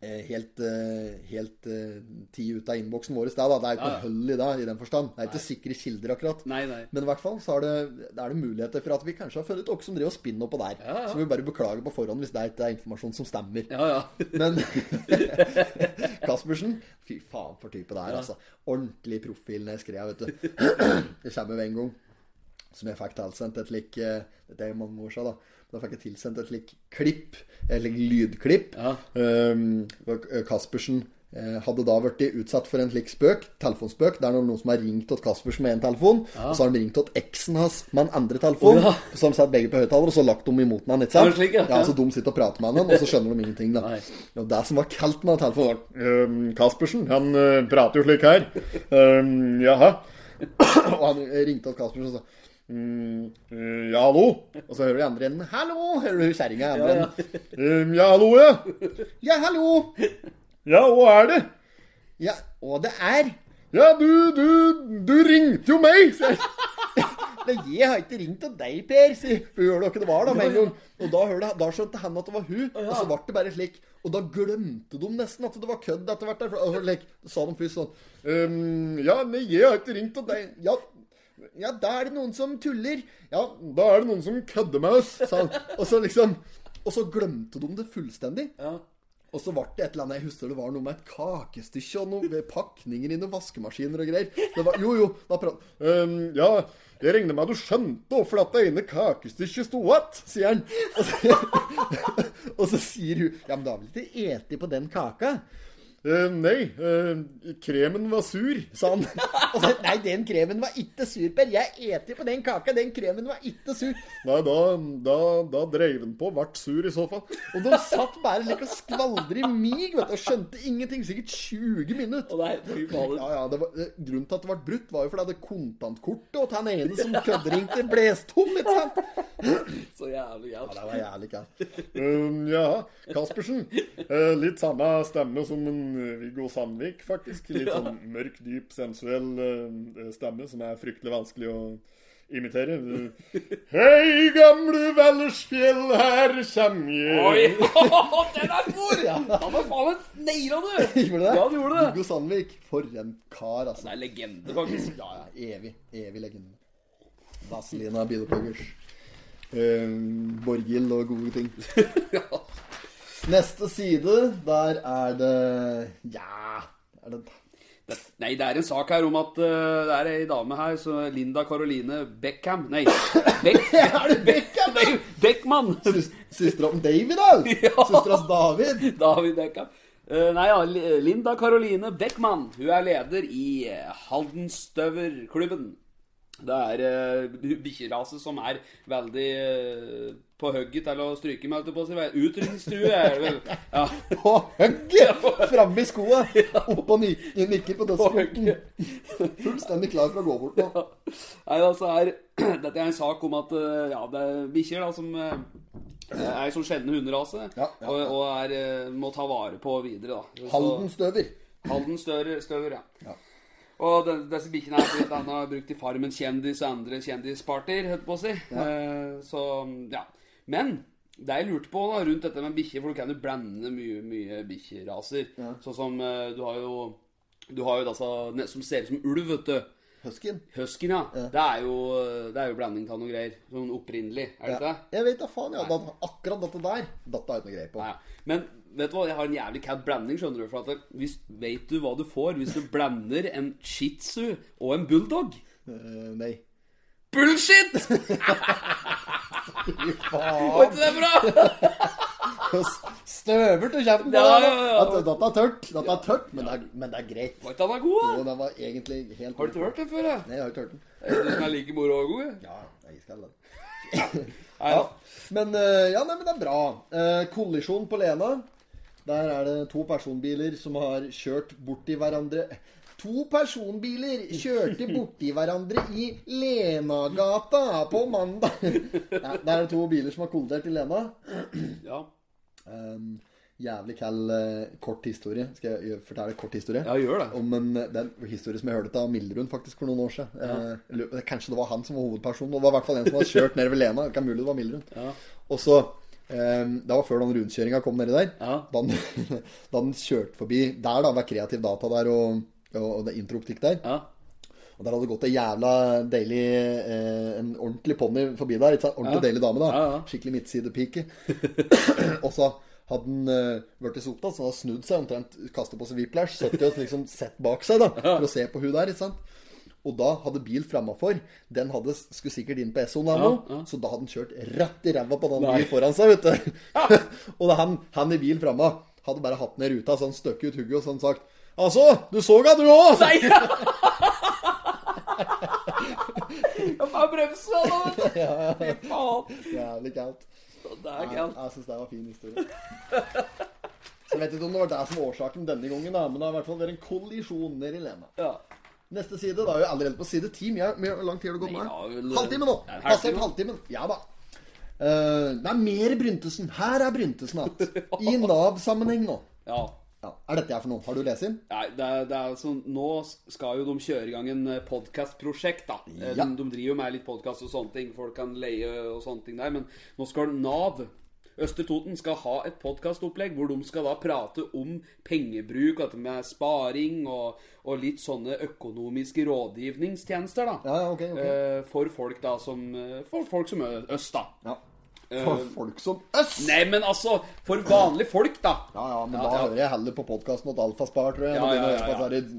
eh, helt, eh, helt eh, ti ut av innboksen vår i sted. Da. Det er ikke
Ja, ja.
noe hull i det, i den forstand. Det er ikke sikre kilder, akkurat.
Nei, nei.
Men i hvert fall så er det, da er det muligheter for at vi kanskje har funnet noe som driver og spinner oppå der.
Ja, ja.
Så vi bare beklager på forhånd hvis det ikke er informasjon som stemmer.
Ja, ja. [laughs]
Men Caspersen Fy faen for type det er, altså. Ordentlig profil ned skreia, vet du.
[clears throat]
Det kommer jo en gang som jeg fikk tilsendt et slik eh, Dette er jo mange år siden, da. Da fikk jeg tilsendt et slik klipp, et slik lydklipp.
Ja.
Ehm, og Caspersen eh, hadde da blitt utsatt for en slik spøk, telefonspøk. Det er noen som har ringt til Caspersen med en telefon, og så har de ringt til eksen hans med en andre telefon.
Å, ja.
Så har de satt begge på høyttaler, og så lagt dem imot han, ikke
Er
sant?
det slik, ja?
Ja, så de sitter og prater med han, og så skjønner de ingenting. da
Nei.
Og Det som var kaldt med telefonen, var «Ehm, Caspersen, han eh, prater jo slik her. Ehm, jaha. og han ringte opp Caspersen og sa «Mm, eh, ja, hallo? Og så hører du i andre enden Hallo! Hører du kjerringa i andre enden. «Ehm, ja, hallo, ja. Ja, hallo. Ja, hva er det? Ja, og det er Ja, du, du, du ringte jo meg, sier jeg. Nei, jeg har ikke ringt til deg, Per, sier Hør dere det var da, med en gang. Og da, hørte, da skjønte han at det var hun, og så ble det bare slik. Og da glemte de nesten at det var kødd etter hvert. der, for- og slik, sa de først sånn «Ehm, Ja, nei, jeg har ikke ringt til deg. Ja, ja, da er det noen som tuller. Ja, da er det noen som kødder med oss, sa han. Og så liksom Og så glemte de det fullstendig.
Ja.
Og så ble det et eller annet, jeg husker det var noe med et kakestykke og noen pakninger i noen vaskemaskiner og greier. Det var, jo, jo, da prat... «Øhm, ja, jeg regner med at du skjønte hvorfor dette ene kakestykket sto igjen, sier han. Og så, [laughs] og så sier hun, ja, men da vil ikke ete på den kaka. «Eh, nei, eh, kremen var sur, sa [laughs] han. Og så, Altså, nei, den kremen var ikke sur, Per. Jeg eter på den kaka. Den kremen var ikke sur. Nei, da, da, da dreiv den på og ble sur i så fall. Og de satt bare slik og skvaldret i mig, vet du, og skjønte ingenting. Sikkert 20 minutter.
Å nei, [laughs] fy fader.
Ja, ja, det var, eh, grunnen til at det ble brutt, var jo fordi det kontantkortet og han ene som kødderingte, blåste tom. ikke sant?
Så jævlig gærent.
Det var jævlig galt. Um, ja, Caspersen. Eh, litt samme stemme som en eh, Viggo Sandvik, faktisk. Litt sånn mørk, dyp, sensuell eh, stemme som er fryktelig vanskelig å imitere. Hei, gamle Vellersfjell, her kjem
Oi! [laughs]
jeg.
Den er stor! Han var faen meg naila, du!
[laughs] Gjorde det?
Ja, han gjorde det.
Viggo Sandvik, for en kar, altså.
Det er legende, faktisk.
Ja,
[laughs]
ja, evig. Evig legende. Vazelina Bilopphøggers. Um, Borghild og gode ting. Neste side, der er det Ja er det,
Det- Nei, det er en sak her om at eh, det er ei dame her, så Linda Caroline
[laughs]
Beckham Nei, Beck...
Er det Beckham?
Nei, Beckman!
Søstera til David, da!
[laughs] Ja.
Søsteras David.
[laughs] David Beckham. Eh, nei, ja, Li- Linda Caroline Beckman. Hun er leder i eh, Haldenstøverklubben. Det er [laughs] uh, bikkjerase som er veldig eh, på hugget til å stryke med, holdt jeg på å si. Vel, Utrydningstrue er det vel.
[laughs]
Ja, [laughs]
På hugget! Framme i skoa. Opp og ny- nikker på
på
dødsfjorten.
hugget.
Fullstendig klar for å gå bort nå.
Nei, altså er, [clears throat] Dette er en sak om at eh, ja, det er bikkjer da, som eh, er en sånn sjelden hunderase,
Ja, ja, ja.
og, og er, eh, må ta vare på videre. da. Så-
Haldenstøver.
Halden støver, støver ja.
Ja.
Og de, disse bikkjene er blitt han har brukt i Farmen kjendis og andre kjendispartier, holdt på å si. Eh, så, ja. Men det jeg lurte på da, rundt dette med bikkjer, for du kan jo blande mye, mye bikkjeraser. Sånn som eh, du har jo Du har jo altså, ne- som ser ut som ulv, vet du.
Huskyen.
Huskyen, ja. Det er jo, det er jo blanding av noe greier. Sånn opprinnelig, er det ikke
Ja.
det?
Jeg vet da faen, ja. Da- Akkurat dette der datta jeg ikke noe greie på.
Ja, ja. Men vet du hva, jeg har en jævlig cat blanding, skjønner du. For at det, hvis, vet du hva du får hvis du blander en shih tzu og en bulldog?
Eh, nei.
[laughs] Bullshit! Var
Faen!
ikke det bra?
Støver til kjeften på
Ja,
deg.
ja, ja.
At Dette er tørt, dette er tørt, men det er, men det er greit.
Var ikke han da god,
Og
da?
den var egentlig helt
Har du ikke hørt det før? Jeg
Nei, jeg har ikke hørt den.
Jeg synes den er like moro og god. jeg.
Ja, jeg skal den.
Nei,
Ja.
da.
Men, eh, ja, nei, men det er bra. Eh, kollisjon på Lena. Der er det to personbiler som har kjørt borti hverandre. To personbiler kjørte borti hverandre i Lenagata på mandag. [laughs] Ja, der er det to biler som har kollidert i Lena.
ja.
Um, jævlig kall eh, kort historie. Skal jeg gjøre- fortelle kort historie?
ja, gjør det.
Om en, det er en historie som jeg hørte av Mildrun faktisk for noen år siden. Eh, jeg lurer- kanskje det var han som var hovedpersonen. Og det var i hvert fall en som hadde kjørt nedover Lena. Det er mulig det var Mildrun. Og så eh, Det var før den rundkjøringa kom nedi der.
Ja.
Da, den, [laughs] da den kjørte forbi der, da, ved Kreativ Data der og, og, og det introoptikk der.
Ja.
Og der hadde det gått ei jævla deilig eh, En ordentlig ponni forbi der. Ikke sant? Ordentlig
Ja.
deilig dame, da.
Ja, ja.
Skikkelig midtsidepike.
[laughs]
og så hadde den eh, vært i sota, så hadde han snudd seg omtrent, kastet på seg whiplash, sittet og liksom sett bak seg da, for å se på hun der. ikke sant? Og da hadde bil framafor Den hadde, skulle sikkert inn på Essoen, da, nå, så da hadde han kjørt rett i ræva på den bilen foran seg. vet du. [laughs] og da han, han i bil framme hadde bare hatt ned ruta, så han støkket ut hugget og sånn sagt Altså, du så at du òg!
Nei! Ja, faen, bremse, da, [laughs] vet du. Fy faen.
Jævlig kaldt.
Det er
Ja,
galt.
jeg syns det var en fin historie. Så jeg vet ikke om det var det som var årsaken denne gangen, da, men det har i hvert fall vært en kollisjon nede i Lena.
Ja.
Neste side, da er vi allerede på side ti. men jeg- men Hvor lang tid har du gått
Nei, ja,
med?
vel,
Halvtime nå!
ja, en halvtime.
Passert halvtimen. Ja da. Eh, det er mer Bryntesen. Her er Bryntesen igjen. I Nav-sammenheng nå.
ja.
Ja, er dette her for noe? Har du lest inn?
Nei, det er, det er sånn, Nå skal jo de kjøre i gang en podkastprosjekt, da. Eh,
Ja.
De, de driver jo med litt podkast og sånne ting, folk kan leie og sånne ting der. Men nå skal Nav Østre Toten skal ha et podkastopplegg hvor de skal da prate om pengebruk, og dette med sparing og, og litt sånne økonomiske rådgivningstjenester, da.
Ja, ja, ok. ok.
Eh, For folk da som eh, For folk som ø- oss, da.
Ja. For folk som oss!
eh, Nei, men altså, for vanlige folk, da.
Ja, ja, men da hører jeg heller på podkasten at Alfa spar, tror jeg.
Ja,
Nå begynner
ja,
jeg
ja,
på
ja.
disse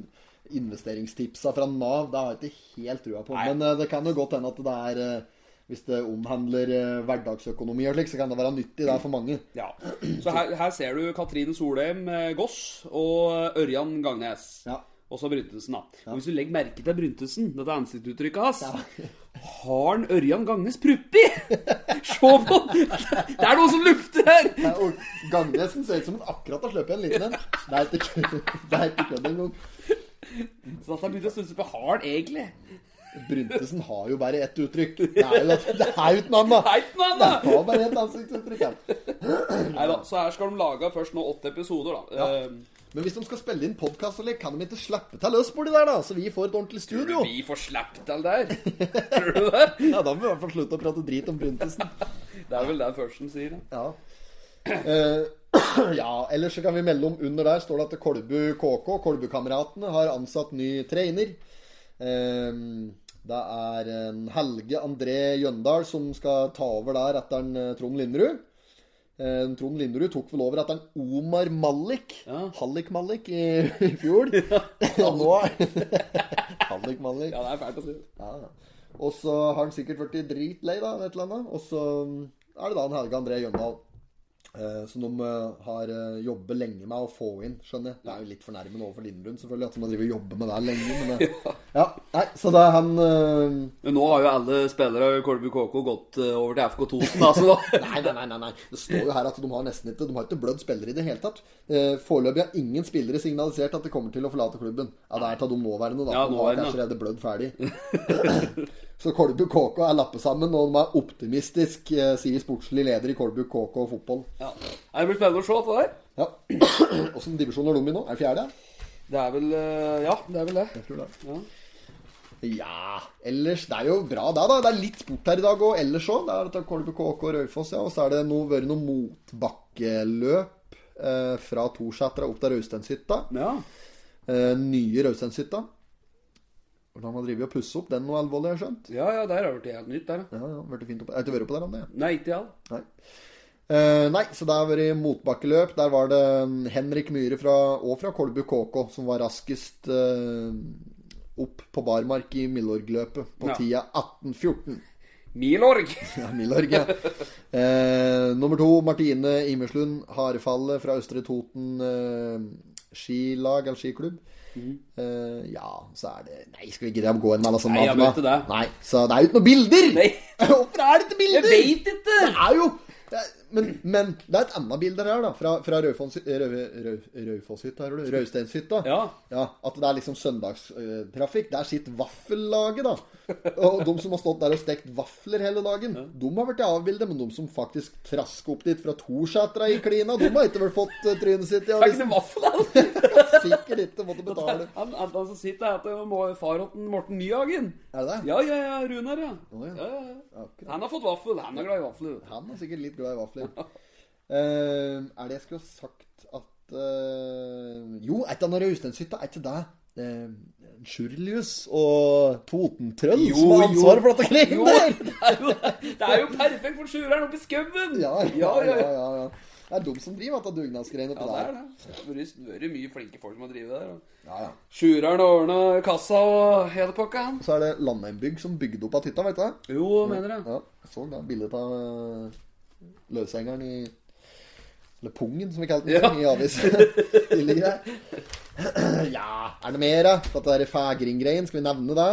her investeringstipsa fra Nav. Det har jeg ikke helt trua på. Men eh, det kan jo godt hende at det er eh, Hvis det omhandler eh, hverdagsøkonomi og slik, så kan det være nyttig. Det er for mange.
Ja. Så her, her ser du Katrine Solheim eh, Goss og eh, Ørjan Gangnes.
Ja.
Og så Bryntesen, da. Og hvis du legger merke til Bryntesen, dette ansiktsuttrykket hans Har han Ørjan Gangnes prupp i? [laughs] Se på den! Det er noe som lufter her!
Nei, Eh, og Gangnesen ser ut som han akkurat har sluppet en liten en. Det er ikke kødd- det er ikke kødd engang.
Så at jeg begynte å stusse på Har han egentlig
Bryntesen har jo bare ett uttrykk. Det er jo, det er jo ikke noe annet.
Heit, mann,
Det
da!
har bare ett ansiktsuttrykk. han.
Nei da, så her skal de lage først nå åtte episoder, da. Ehm,
Ja. Men hvis de skal spille inn podkast, kan de ikke slippe til løs borti der, da? Så vi får et ordentlig
Eh,
studio?
vi får slapp til der. Tror du det?
Ja, da må vi i hvert fall slutte å prate drit om Bryntesen.
Det er vel det Førsten sier. da.
Ja. Eh, [clears throat] ja, ellers så kan vi melde om under der står det at Kolbu KK, Kolbukameratene, har ansatt ny trener. Eh, det er en Helge André Jøndal som skal ta over der etter en eh, Trond Linderud. Eh, Trond Linderud tok vel over etter en Omar Malik,
Ja.
Hallik Malik, i, [laughs] i fjor. Og nå [laughs] Hallik Malik.
Ja, det er fælt å si.
Ja. Og så har han sikkert vært dritlei, da, eller et eller annet. Og så mm, er det da en Helge André Jøndal. Eh, som de eh, har eh, jobbet lenge med å få inn, skjønner jeg. Det er jo litt fornærmende overfor Lindrun, selvfølgelig, at de har drevet og jobbet med det lenge. Men det... Ja, nei, så det er han eh,
Men nå har jo alle spillere i Kolbu KK gått eh, over til FK Toten, da,
[laughs]
så da
Nei, nei, nei, nei, nei. Det står jo her at de har nesten ikke De har ikke blødd spillere i det hele tatt. Eh, Foreløpig har ingen spillere signalisert at de kommer til å forlate klubben. Ja, Det er av de nåværende, da.
Ja,
de har
nåværende.
kanskje allerede blødd ferdig. [coughs] Så Kolbu KK er lappet sammen, og de er optimistisk, eh, sier sportslig leder i Kolbu KK fotball.
ja. Nei, Det blir spennende å se dette der.
Ja. [coughs] Åssen divisjon er de i nå? Er det fjerde?
Det er vel eh, Ja, det er vel det.
Jeg tror det.
Ja.
Ja Ellers, det er jo bra det, da. Det er litt sport her i dag òg. Ellers òg. Det er dette Kolbu KK og Raufoss, ja. Og så er det noe, vært noe motbakkeløp eh, fra Torsetra opp til Rausteinshytta.
ja.
Eh, nye Rausteinshytta. Hvordan man driver og pusser opp den noe alvorlig, har jeg skjønt.
Ja, ja, der har det blitt helt nytt, der. ja.
Ja, ja, vært fint opp. Jeg har ikke vært oppe der ennå, jeg.
Nei, ikke jeg.
Nei. Eh, nei, så det har vært motbakkeløp. Der var det mm, Henrik Myhre fra, og fra Kolbu KK som var raskest eh, opp på barmark i Milorg-løpet på
Ja.
tida 18.14.
Milorg! [laughs]
Ja, Milorg, ja. Eh, nummer to, Martine Imerslund Harefallet fra Østre Toten eh, skilag eller skiklubb.
Mhm.
Eh, ja, så er det Nei, skal vi gidde å gå inn med alle sånne
Nei, jeg
navn,
vet
da?
det.
Nei, så det er jo ikke noen bilder!
Nei.
[laughs] Hvorfor er det ikke
Jeg
bilder?
veit ikke!
Det er jo det er, men, men det er et annet bilde her, da. Fra, fra Raufoss- Rau- Rau- Raufosshytta, hører du? Rausteinshytta.
Ja.
Ja, At det er liksom søndagstrafikk. Der sitter vaffellaget, da. Og de som har stått der og stekt vafler hele dagen, de har vært i avbildet. Men de som faktisk trasker opp dit fra Torsetra i klina, de har ikke vel fått eh, trynet sitt i
Det er ikke
avisen.
noe vaffel,
[laughs]
altså.
Sikkert ikke måtte betale.
Han, han, han som sitter her, heter Mo- farotten Morten Nyhagen.
Er det det?
Ja, ja, ja. Runar, ja.
Å, ja.
ja, ja, ja.
Akkurat.
Han har fått vaffel. Han er glad i vafler. vet du.
Han er sikkert litt glad i vafler. Eh, er det jeg skulle ha sagt at eh, Jo, et eller annet Rausteinshytta, er ikke det uh, Sjurlius og Totentrøll
Jo,
som har
jo.
ansvaret for dette
Jo,
greiene der?
det er jo, det er jo perfekt for sjueren oppe i skauen!
Ja, ja,
ja,
ja, ja, ja. Det er de som driver dette dugnadsgreiene
Ja,
oppi
det er
der.
det. Det har vært- vært mye flinke folk med å drive der.
Ja, ja.
Sjureren har ordna kassa og hele pakka, han.
Så er det Landheimbygg som bygde opp av hytta, vet du det?
Jo, mener jeg.
Ja, jeg så da bildet av eh, løshengeren i Eller pungen, som vi kalte den
Ja.
i avisen.
[laughs]
Lille greier. ja, er det mer? da? Dette der fægring-greien, skal vi nevne det?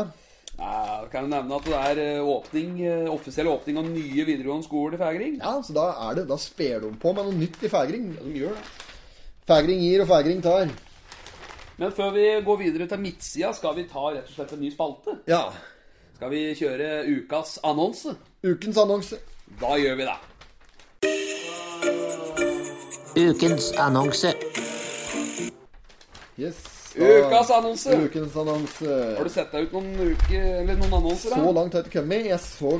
Ja, kan jeg nevne at det er eh, åpning, eh, offisiell åpning av nye videregående skoler i Fægring?
Ja, så da er det, da sper de på med noe nytt i fægring.
de gjør det.
Fægring gir, og fægring tar.
Men før vi går videre til midtsida, skal vi ta rett og slett en ny spalte.
Ja.
Skal vi kjøre ukas annonse?
Ukens annonse.
Da gjør vi det.
Ukens annonse.
Yes.
Ukas annonse.
Ukens annonse.
Har du sett deg ut noen uke, eller noen annonser?
Så
da?
langt har jeg ikke kommet. Jeg så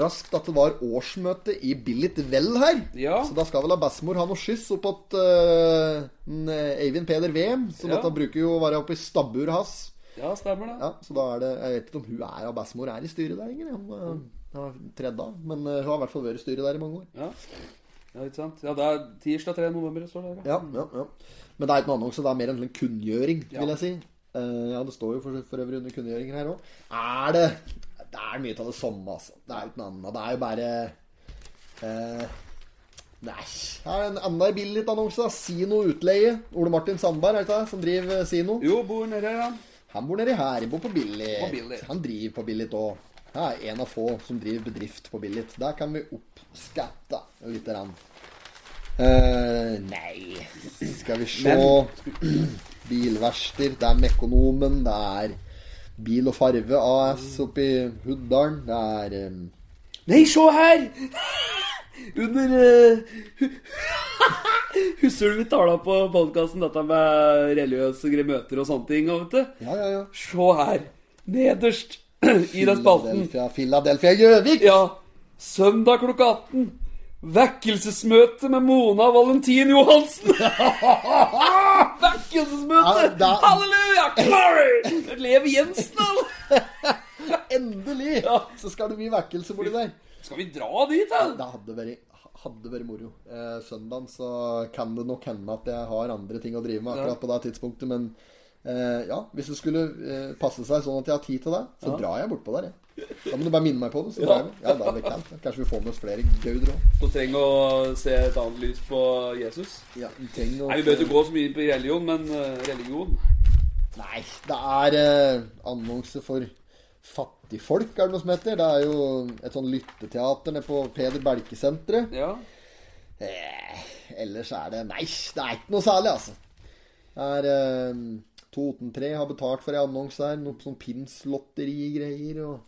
raskt at det var årsmøte i Billit Vel her.
Ja.
Så da skal vel bestemor ha noe skyss opp at øh, en, øh, Eivind Peder Wehm, som
Ja.
dette bruker jo å være oppe i stabburet hans.
Ja, stemmer det.
Ja, så da er det Jeg vet ikke om hun er av bestemor er i styret der lenger. Hun øh, hun er tredje av, men øh, hun har i hvert fall vært i styret der i mange år.
Ja, ja ikke sant? Ja, det er tirsdag 3. november, det står det.
Ja, ja, ja. Men det er ikke noe annonse, det er mer en sånn kunngjøring,
Ja.
vil jeg si. Eh, ja, det står jo for, for øvrig under kunngjøringer her òg. Er det Det er mye av det samme, altså. Det er jo ikke noe annet. Det er jo bare eh, Nei. Her er en enda billig annonse. da. Sino utleie. Ole Martin Sandberg, er det ikke det, som driver eh, Sino.
Jo, bor nede her, han.
Han bor nede i her, han bor på Billit.
På Billit.
Han driver på Billit òg. Det er en av få som driver bedrift på Billit. Der kan vi oppskatte lite grann. Eh, nei [clears throat] Skal vi se Bilverksteder. Det er Mekonomen. Det er Bil og Farve AS oppe i Huddalen. Det er eh,
Nei, se her! Under uh, [laughs] Husker du vi tala på podkasten dette med religiøse gre- møter og sånne ting? Og vet du?
Ja, ja, ja.
Se her, nederst [clears throat] i den spalten.
Philadelphia, Philadelphia Gjøvik!
Ja, søndag klokka 18. Vekkelsesmøte med Mona Valentin Johansen.
Ja,
Vekkelsesmøte!
da-
Halleluja! Glory! Lev Jensen, da!
Endelig!
Ja.
Så skal det bli vekkelse borti der.
Skal vi dra dit, da?
Det hadde vært, hadde vært moro. Eh, søndagen så kan det nok hende at jeg har andre ting å drive med akkurat på det tidspunktet, men eh, ja, hvis det skulle eh, passe seg sånn at jeg har tid til det, så drar jeg bortpå der, jeg. Da må du bare minne meg på det, så drar jeg. Ja, da er det kaldt. Kanskje vi får med oss flere gauder òg.
Så trenger å se et annet lys på Jesus.
Ja, vi trenger å-
Nei, Vi bør ikke gå så mye på religion, men eh, religion
Nei, det er eh, annonse for fattigfolk, er det noe som heter. Det er jo et sånn lytteteater nede på Peder Belke-senteret.
Ja.
Eh, ellers er det Nei, det er ikke noe særlig, altså. Det er eh, Toten3 har betalt for ei annonse her. Noe sånn Pimslotterigreier og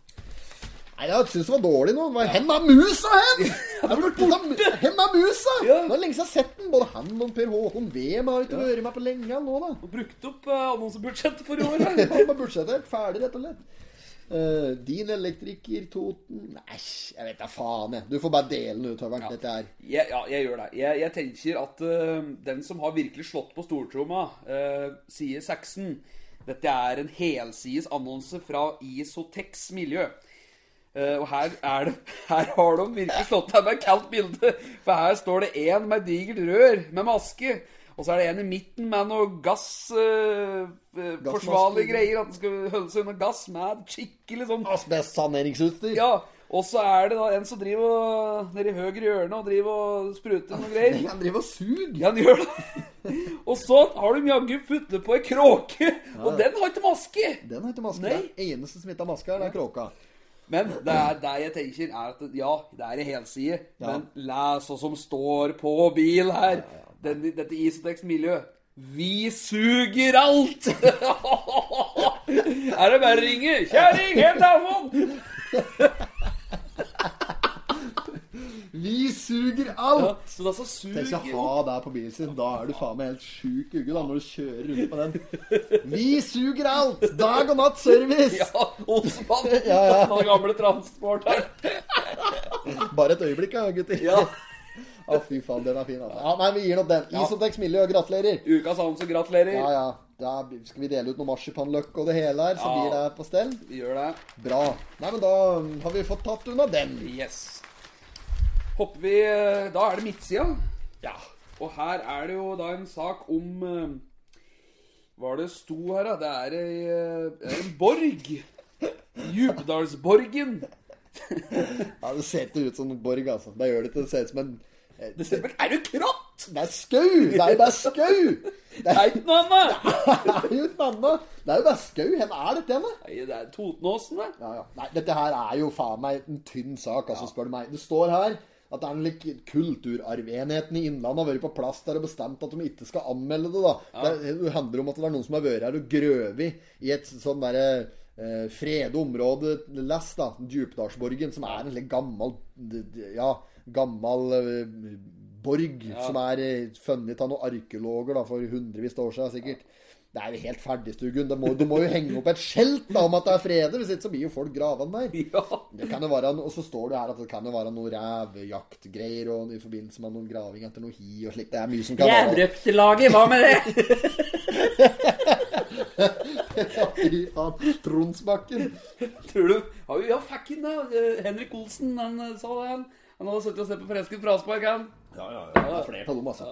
Nei, jeg syns det var dårlig nå. Det var, Hen er musa,
[laughs]
hen! Jeg har blitt borte. Hen er musa! Det
Ja.
er lenge siden jeg har sett den. Både han og Per Håkon Wehm har ikke vært med på lenge han nå, da.
Og brukt opp eh, annonsebudsjettet for i år. da.
Han var budsjettert. Ferdig, rett og slett. Eh, din elektriker, Toten Æsj, jeg vet da faen, jeg. Du får bare dele den utover. Ja. Dette er
Ja, ja, jeg gjør det. Jeg, jeg tenker at eh, den som har virkelig slått på stortromma, eh, sier Saxon. Dette er en helsides annonse fra Isotex miljø. Eh, og her, er det, her har de virkelig slått deg med et kaldt bilde. For her står det én med et digert rør med maske. Og så er det en i midten med noe gass... eh, eh, forsvarlige greier. At den skal holde seg under gass med skikkelig sånn
asbestsaneringsutstyr.
ja, og så er det da en som driver og, nede i høyre hjørne og driver og spruter noen greier.
Han driver og suger.
Ja, han gjør det. [laughs] Og så har de jaggu puttet på ei kråke, og den har ikke maske.
Den har ikke maske.
Nei.
Det er eneste som ikke har maske, her, det er kråka.
Men det er det jeg tenker, er at ja, det er en helside, men les hva som står på bil her. Den, dette Isotex-miljøet. Vi suger alt! [laughs] er det bare å ringe? Kjerring, helt telefon!
Vi suger alt!
Så det er så
Tenk å
suger
ha deg på bilen sin. Da er du faen meg helt sjuk uke da, når du kjører rundt med
[laughs]
den. Vi suger alt! Dag og natt service!
Ja, Olsmann.
[laughs] Ja, ja.
Den gamle transporteren.
Bare et øyeblikk, ja, gutter.
Ja.
[laughs] Å, fy faen, den er fin. Altså. Ja, nei, vi gir nok den. Isotex Miljø, gratulerer.
Ukas annonse, gratulerer.
Ja, ja. Da skal vi dele ut noe marsipanløk og det hele her, så
Ja.
blir det på stell.
Vi gjør det.
Bra. Nei, men da har vi fått tatt unna den.
Yes. Hopper vi eh, Da er det midtsida. Ja. Og her er det jo da en sak om eh, Hva er det sto her, da? Det er ei, eh, en borg. Djupdalsborgen.
Ja, det ser ikke ut som en borg, altså. Det gjør det ikke. Det ser ut som en eh,
Det ser ut som Er du kratt?
Det er skau! Det er jo bare skau! Det
Nei, ikke noe annet.
er jo ikke annet. Det er jo bare skau. Hvor er dette hen, da?
Nei, det er Totenåsen, det.
Ja, ja. Nei, dette her er jo faen meg en tynn sak, altså, spør du meg. Det står her at det er en lik kulturarvenheten i Innlandet har vært på plass der og bestemt at de ikke skal anmelde det, da. Det, det handler om at det er noen som har vært her og grøvet i et sånn derre eh, frede område less, da. Djupdalsborgen, som er en litt gammel d- d- Ja, gammel eh, borg som er eh, funnet av noen arkeologer da, for hundrevis av år siden, sikkert. Det er jo helt ferdigstugun. Det må, du må jo henge opp et skjelt da, om at det er fredet, hvis ikke så blir jo folk gravende der.
Ja.
Det kan jo være, og så står det her at det kan jo være noe rævjaktgreier og i forbindelse med noen graving etter noe hi og slikt. Det er mye som kan være
Jævrøptelaget, hva med det?
[laughs] Fy faen, Tronsbakken.
Tror du Ja, vi- ja fikk inn det. Eh, Henrik Olsen, han eh, sa det, han. Han hadde sittet og sett på Fresken fraspark, han.
Det er flere av dem, altså.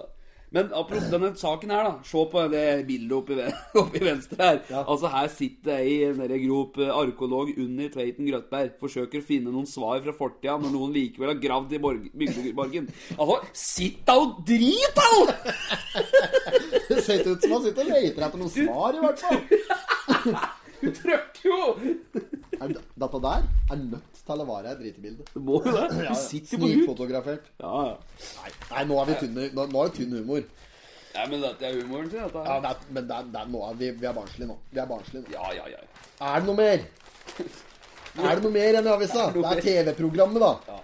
Men apropos denne saken her, da. Se på det bildet oppi, [laughs] ve- oppi venstre her. Altså Her sitter ei nede i grop eh, arkeolog under Tveiten Grøtberg. Forsøker å finne noen svar fra fortida når noen likevel har gravd i borg- bygdeborgen. Altså, sitt da og drit, da!
Det ser ikke ut som han sitter og leter etter noen svar, i hvert fall.
Du trøkker jo!
Er det- Dette der er nødt til å være et dritebilde.
Du må jo det. Du sitter jo på huk.
Snikfotografert.
Ja, ja.
Nei, nå er vi tynne, nå, nå er det tynn humor.
Nei, men dette er humoren sin, dette.
Ja,
her.
det er, men det er, det er, nå er vi, vi er barnslige nå. Vi er barnslige nå.
Ja, ja, ja.
Er det noe mer? Er det noe mer enn i avisa?
Er det
Det
noe
er TV-programmet, da.
ja.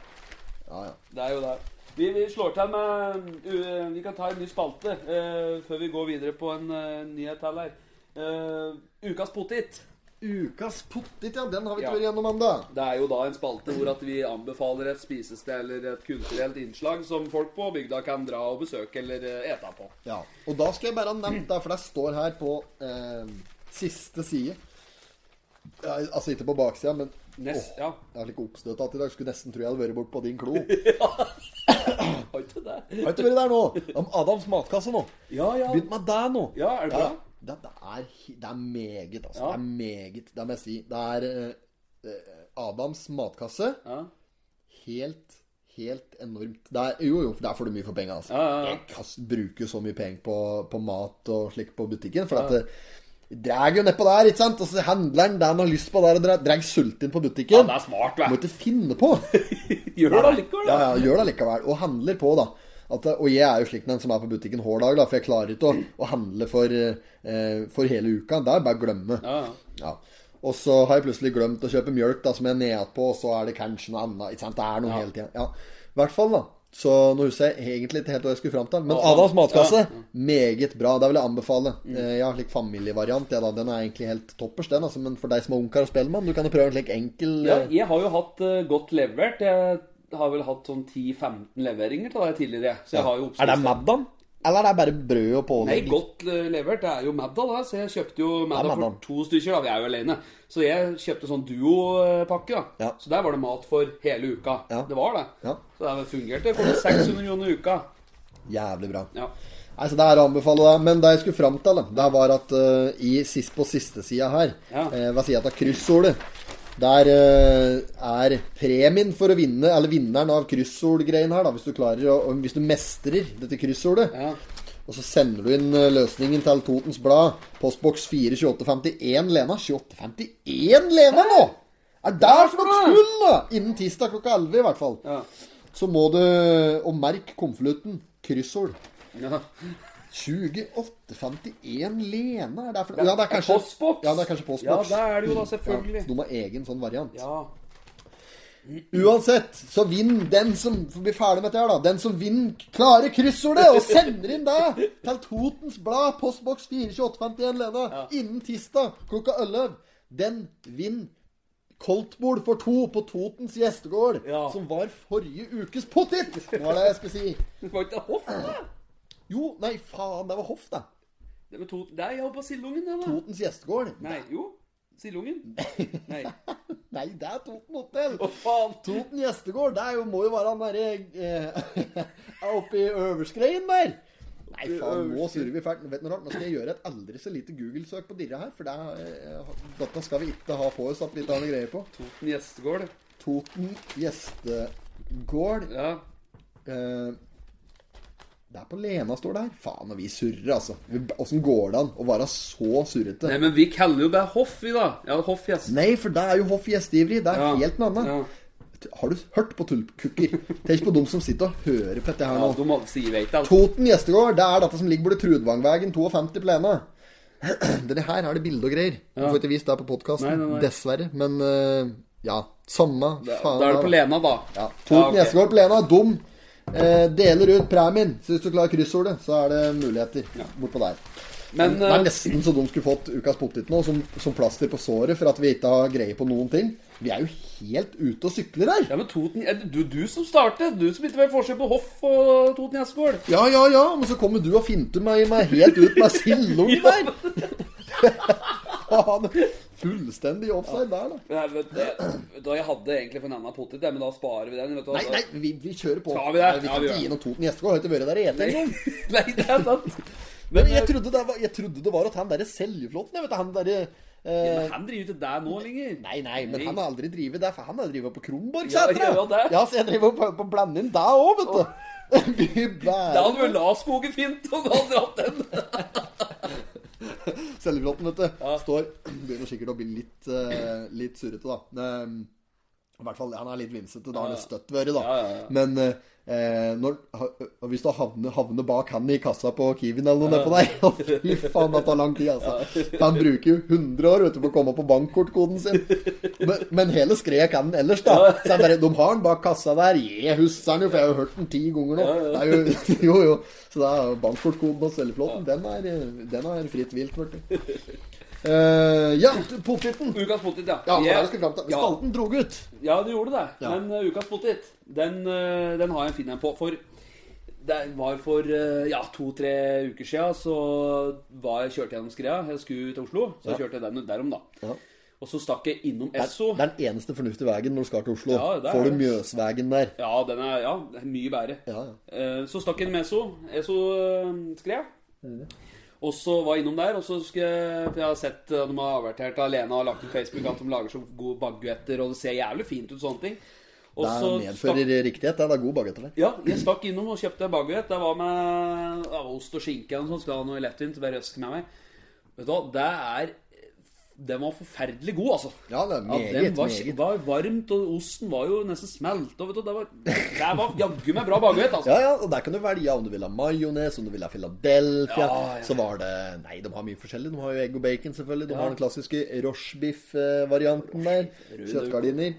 Ja, ja.
Det er jo det. Vi, vi slår til med uh, Vi kan ta en ny spalte eh, før vi går videre på en eh, nyhet her. Eh, ukas potet.
Ukas pottit, ja. Den har vi
Ja.
ikke vært gjennom ennå.
Det er jo da en spalte hvor at vi anbefaler et spisested eller et kulturelt innslag som folk på bygda kan dra og besøke eller eh, ete på.
Ja. Og da skal jeg bare ha nevnt det, for det står her på eh, siste side. Ja, altså ikke på baksida, men
Nest,
Åh,
ja.
Jeg er litt oppstøta til i dag. Skulle nesten tro jeg hadde vært bort på din klo. Har
Har ikke det?
ikke vært der nå. Om Adams matkasse nå.
Ja, ja.
Begynt med det nå.
Ja, er det bra?
det, det, er, hi- det er meget, altså.
Ja.
Det er meget. Det må jeg si. Det er eh, eh, Adams matkasse.
Ja.
Helt, helt enormt. Det er, jo, jo, for det er for mye for penga, altså.
Ja, ja, ja.
Jeg kast, bruker så mye penger på, på mat og slikt på butikken, for at det, Drar jo nedpå der, ikke sant? Og så handler han det han har lyst på der, og drar- drar sulten på butikken.
ja, det er smart,
Må
vet
ikke finne på.
du. [laughs] Gjør det allikevel,
Ja,
da.
ja, gjør det likevel. Og handler på, da. At, og jeg er jo slik den som er på butikken hver dag, da, for jeg klarer ikke å, å handle for, eh, for hele uka. Det er bare å glemme.
Ja, ja.
Ja. Og så har jeg plutselig glemt å kjøpe mjølk, da, som jeg er nede på, og så er det kanskje noe annet. Ikke sant? Det er noe hele tiden Ja. I hvert fall, da. Så nå husker jeg egentlig ikke helt hva jeg skulle fram til. Men
Ja. Mm.
Adams matkasse, meget bra. Det vil jeg anbefale. Eh, Jeg har en slik familievariant, jeg, da. Den er egentlig helt toppers, den. Altså, men for deg som er ungkar og spellemann, du kan jo prøve en slik enkel
Ja,
eh,
jeg har jo hatt eh, godt levert. Jeg har vel hatt sånn 10-15 leveringer til deg tidligere. Så jeg har jo
Er det Maddan? Eller er det bare brød og pålegg?
Nei, godt eh, levert. Det er jo Madda, da. Så jeg kjøpte jo
Det
Madda
er
for
Madda.
to stykker. da, Vi er jo alene. Så jeg kjøpte sånn duopakke, da.
Ja.
Så der var det mat for hele uka.
Ja.
Det var det.
Ja.
Så det fungerte for 600 kroner i uka.
Jævlig bra.
Ja.
Nei, så Det er å anbefale, da. Men det jeg skulle fram til, da, det var at eh, i sist på siste sida her,
Ja.
eh, hva sier jeg til kryssordet? Der eh, er premien for å vinne, eller vinneren av kryssordgreien her, da, hvis du klarer å, om- Hvis du mestrer dette kryssordet,
Ja.
og så sender du inn eh, løsningen til Totens Blad, postboks 42851 Lena. 2851 Lena nå! Er det for noe tull, da? Innen tirsdag klokka 11, i hvert fall.
Ja.
Så må du Og merk konvolutten. Kryssord.
Ja.
2851 Lena er det for Ja, det er kanskje
postboks.
Ja, det er kanskje
Ja,
postboks.
det er det jo da,
Ja,
selvfølgelig.
så de har egen sånn variant.
Ja.
Uansett, så vinn den som for å bli ferdig med dette her, da. Den som vinner, klarer kryssordet og sender inn det til Totens Blad, postboks 42851 Lena, innen tirsdag klokka 11. Den vinner koldtbord for to på Totens gjestegård,
Ja.
som var forrige ukes pottit! Hva er det jeg skulle si?
Det var ikke hoff, da.
Jo, nei, faen, det var hoff, da.
Det var to... Nei, jeg var på Sildungen, det, da.
Totens gjestegård.
Nei, jo. Sildungen. Nei.
[laughs] Nei, det er Toten hotell.
Å, faen.
Toten gjestegård, det er jo, må jo være han derre eh, [laughs] oppe i Øverskreien der. Nei, faen, nå surrer vi fælt. Vet du noe rart? Nå skal jeg gjøre et aldri så lite Google-søk på dirra her, for det er, eh, dette skal vi ikke ha på oss at litt annet greier på.
Toten gjestegård.
Toten gjestegård
Ja.
eh, Det er på Lena, står det her. Faen, og vi surrer, altså. Åssen går det an å være så surrete?
Nei, men vi kaller jo det hoff, vi, da. Ja, hoff gjest.
Nei, for det er jo hoff gjestgiveri. Det er
Ja.
helt noe annet.
Ja.
Har du hørt på tulpkukker? Tenk på dem som sitter og hører på dette her
Ja,
nå.
de alle sier veit alt.
Toten gjestegård, det er dette som ligger borti Trudvangvegen 52 på Lena. [clears throat] Denne her er det bilde og greier. Du får ikke vist det på
Nei,
podkasten,
nei, nei.
dessverre. Men eh, ja, samme
Da
faen.
da er det på Lena, da.
Ja. Toten
ok.
gjestegård på Lena, dum. Eh, deler ut premien. Så hvis du klarer kryssordet, så er det muligheter bortpå der.
Men
Det er
eh,
nesten så de skulle fått ukas potet nå, som, som plaster på såret for at vi ikke har greie på noen ting. Vi er jo helt ute og sykler her.
ja, men Toten er det du, du som startet. Du som ikke vet forskjell på hoff og Toten gjestegård.
Ja, ja, ja, men så kommer du og finter meg, meg helt ut
[laughs]
med sildungen der. Faen. Fullstendig offside der, da.
Nei, vet du, vet du hva, jeg hadde egentlig for en annen potet, jeg, men da sparer vi den. vet du hva.
Nei, nei, vi, vi kjører på.
Skal vi det?
Nei, vi
Ja,
kan
vi
ikke
gjør
gi noe Toten gjestegård. Har ikke vært der i ene engang.
[laughs] Nei, det er sant. eh,
Men eh, jeg trodde, det var, jeg trodde det var at han derre Seljeflåten, jeg vet du, han derre
Ja,
eh,
men han driver ikke deg nå lenger.
Nei, nei, men
Nei.
han har aldri drevet det, for han har drevet på
Ja,
Kronborgsenteret.
ja, det.
ja, så jeg driver og prøver på å blande inn deg òg, vet du. [laughs] Vi
Da
bærer
hadde vel Laskogen fint om du hadde dratt
[laughs]
den.
Seljeflåten, vet du. Står Begynner sikkert å bli litt, eh, litt surrete, da. Um, I hvert fall, Han er litt vimsete. Da har
Ja,
det
ja.
støtt vært, da.
Ja, ja, ja.
Men eh, eh, når, ha, og hvis du havner, havner bak han i kassa på Kiwien eller noe [laughs] nedpå der Fy faen, det tar lang tid, altså. Han bruker jo 100 år vet du, på å komme på bankkortkoden sin. Men, men hele skrek han ellers, da. Så jeg bare, De har han bak kassa der. Jeg husker han jo, for jeg har jo hørt den ti ganger nå. Det er jo, [laughs] jo, jo. Så da er bankkortkoden hos Elleflåten, den er, eh, den er fritt vilt, vet du. Eh, ja, potteten.
Ukas potet, ja.
Ja, for det er
Jeg-
det jeg skulle fram til.
Ja.
Spalten drog ut.
Ja, det gjorde det.
Ja.
Men eh, ukas potet, den, eh, den har jeg en fin en på. For det var for eh, ja, to-tre uker siden så var jeg kjørte gjennom skreia. Jeg skulle til Oslo, så
Ja.
kjørte jeg den derom, da.
Ja.
Og så stakk jeg innom
Det er-
Esso.
Det er den eneste fornuftige veien når du skal til Oslo.
Ja, det er
Får du
det.
Mjøsvegen der.
Ja, den er ja, det er mye bedre.
Ja, ja.
Eh, Så stakk jeg innom Esso. Esso eh, skrev. Og så var jeg innom der, og så skulle jeg For jeg har sett eh, de har avertert Alene og lagt ut Facebook at de lager så gode baguetter, og det ser jævlig fint ut, sånne ting. Og
Det er
så stakk-
medfører riktighet. Det er da god baguett der.
Ja, jeg stakk innom og kjøpte en baguett. Det var med ja, ost og skinke og sånn. Skal ha noe lettvint. Bare røske med meg. Vet du hva, det er Den var forferdelig god, altså.
Ja, det er meget,
den var,
meget.
var varmt, og osten var jo nesten smelt. Og vet du, det var, det var jaggu meg bra baguett, altså.
Ja, ja, og der kan du velge om du vil ha majones, om du vil ha Philadelphia.
Ja, ja.
Så var det Nei, de har mye forskjellig. De har jo egg og bacon, selvfølgelig. De har den klassiske rochebiff-varianten der. Kjøttgardiner.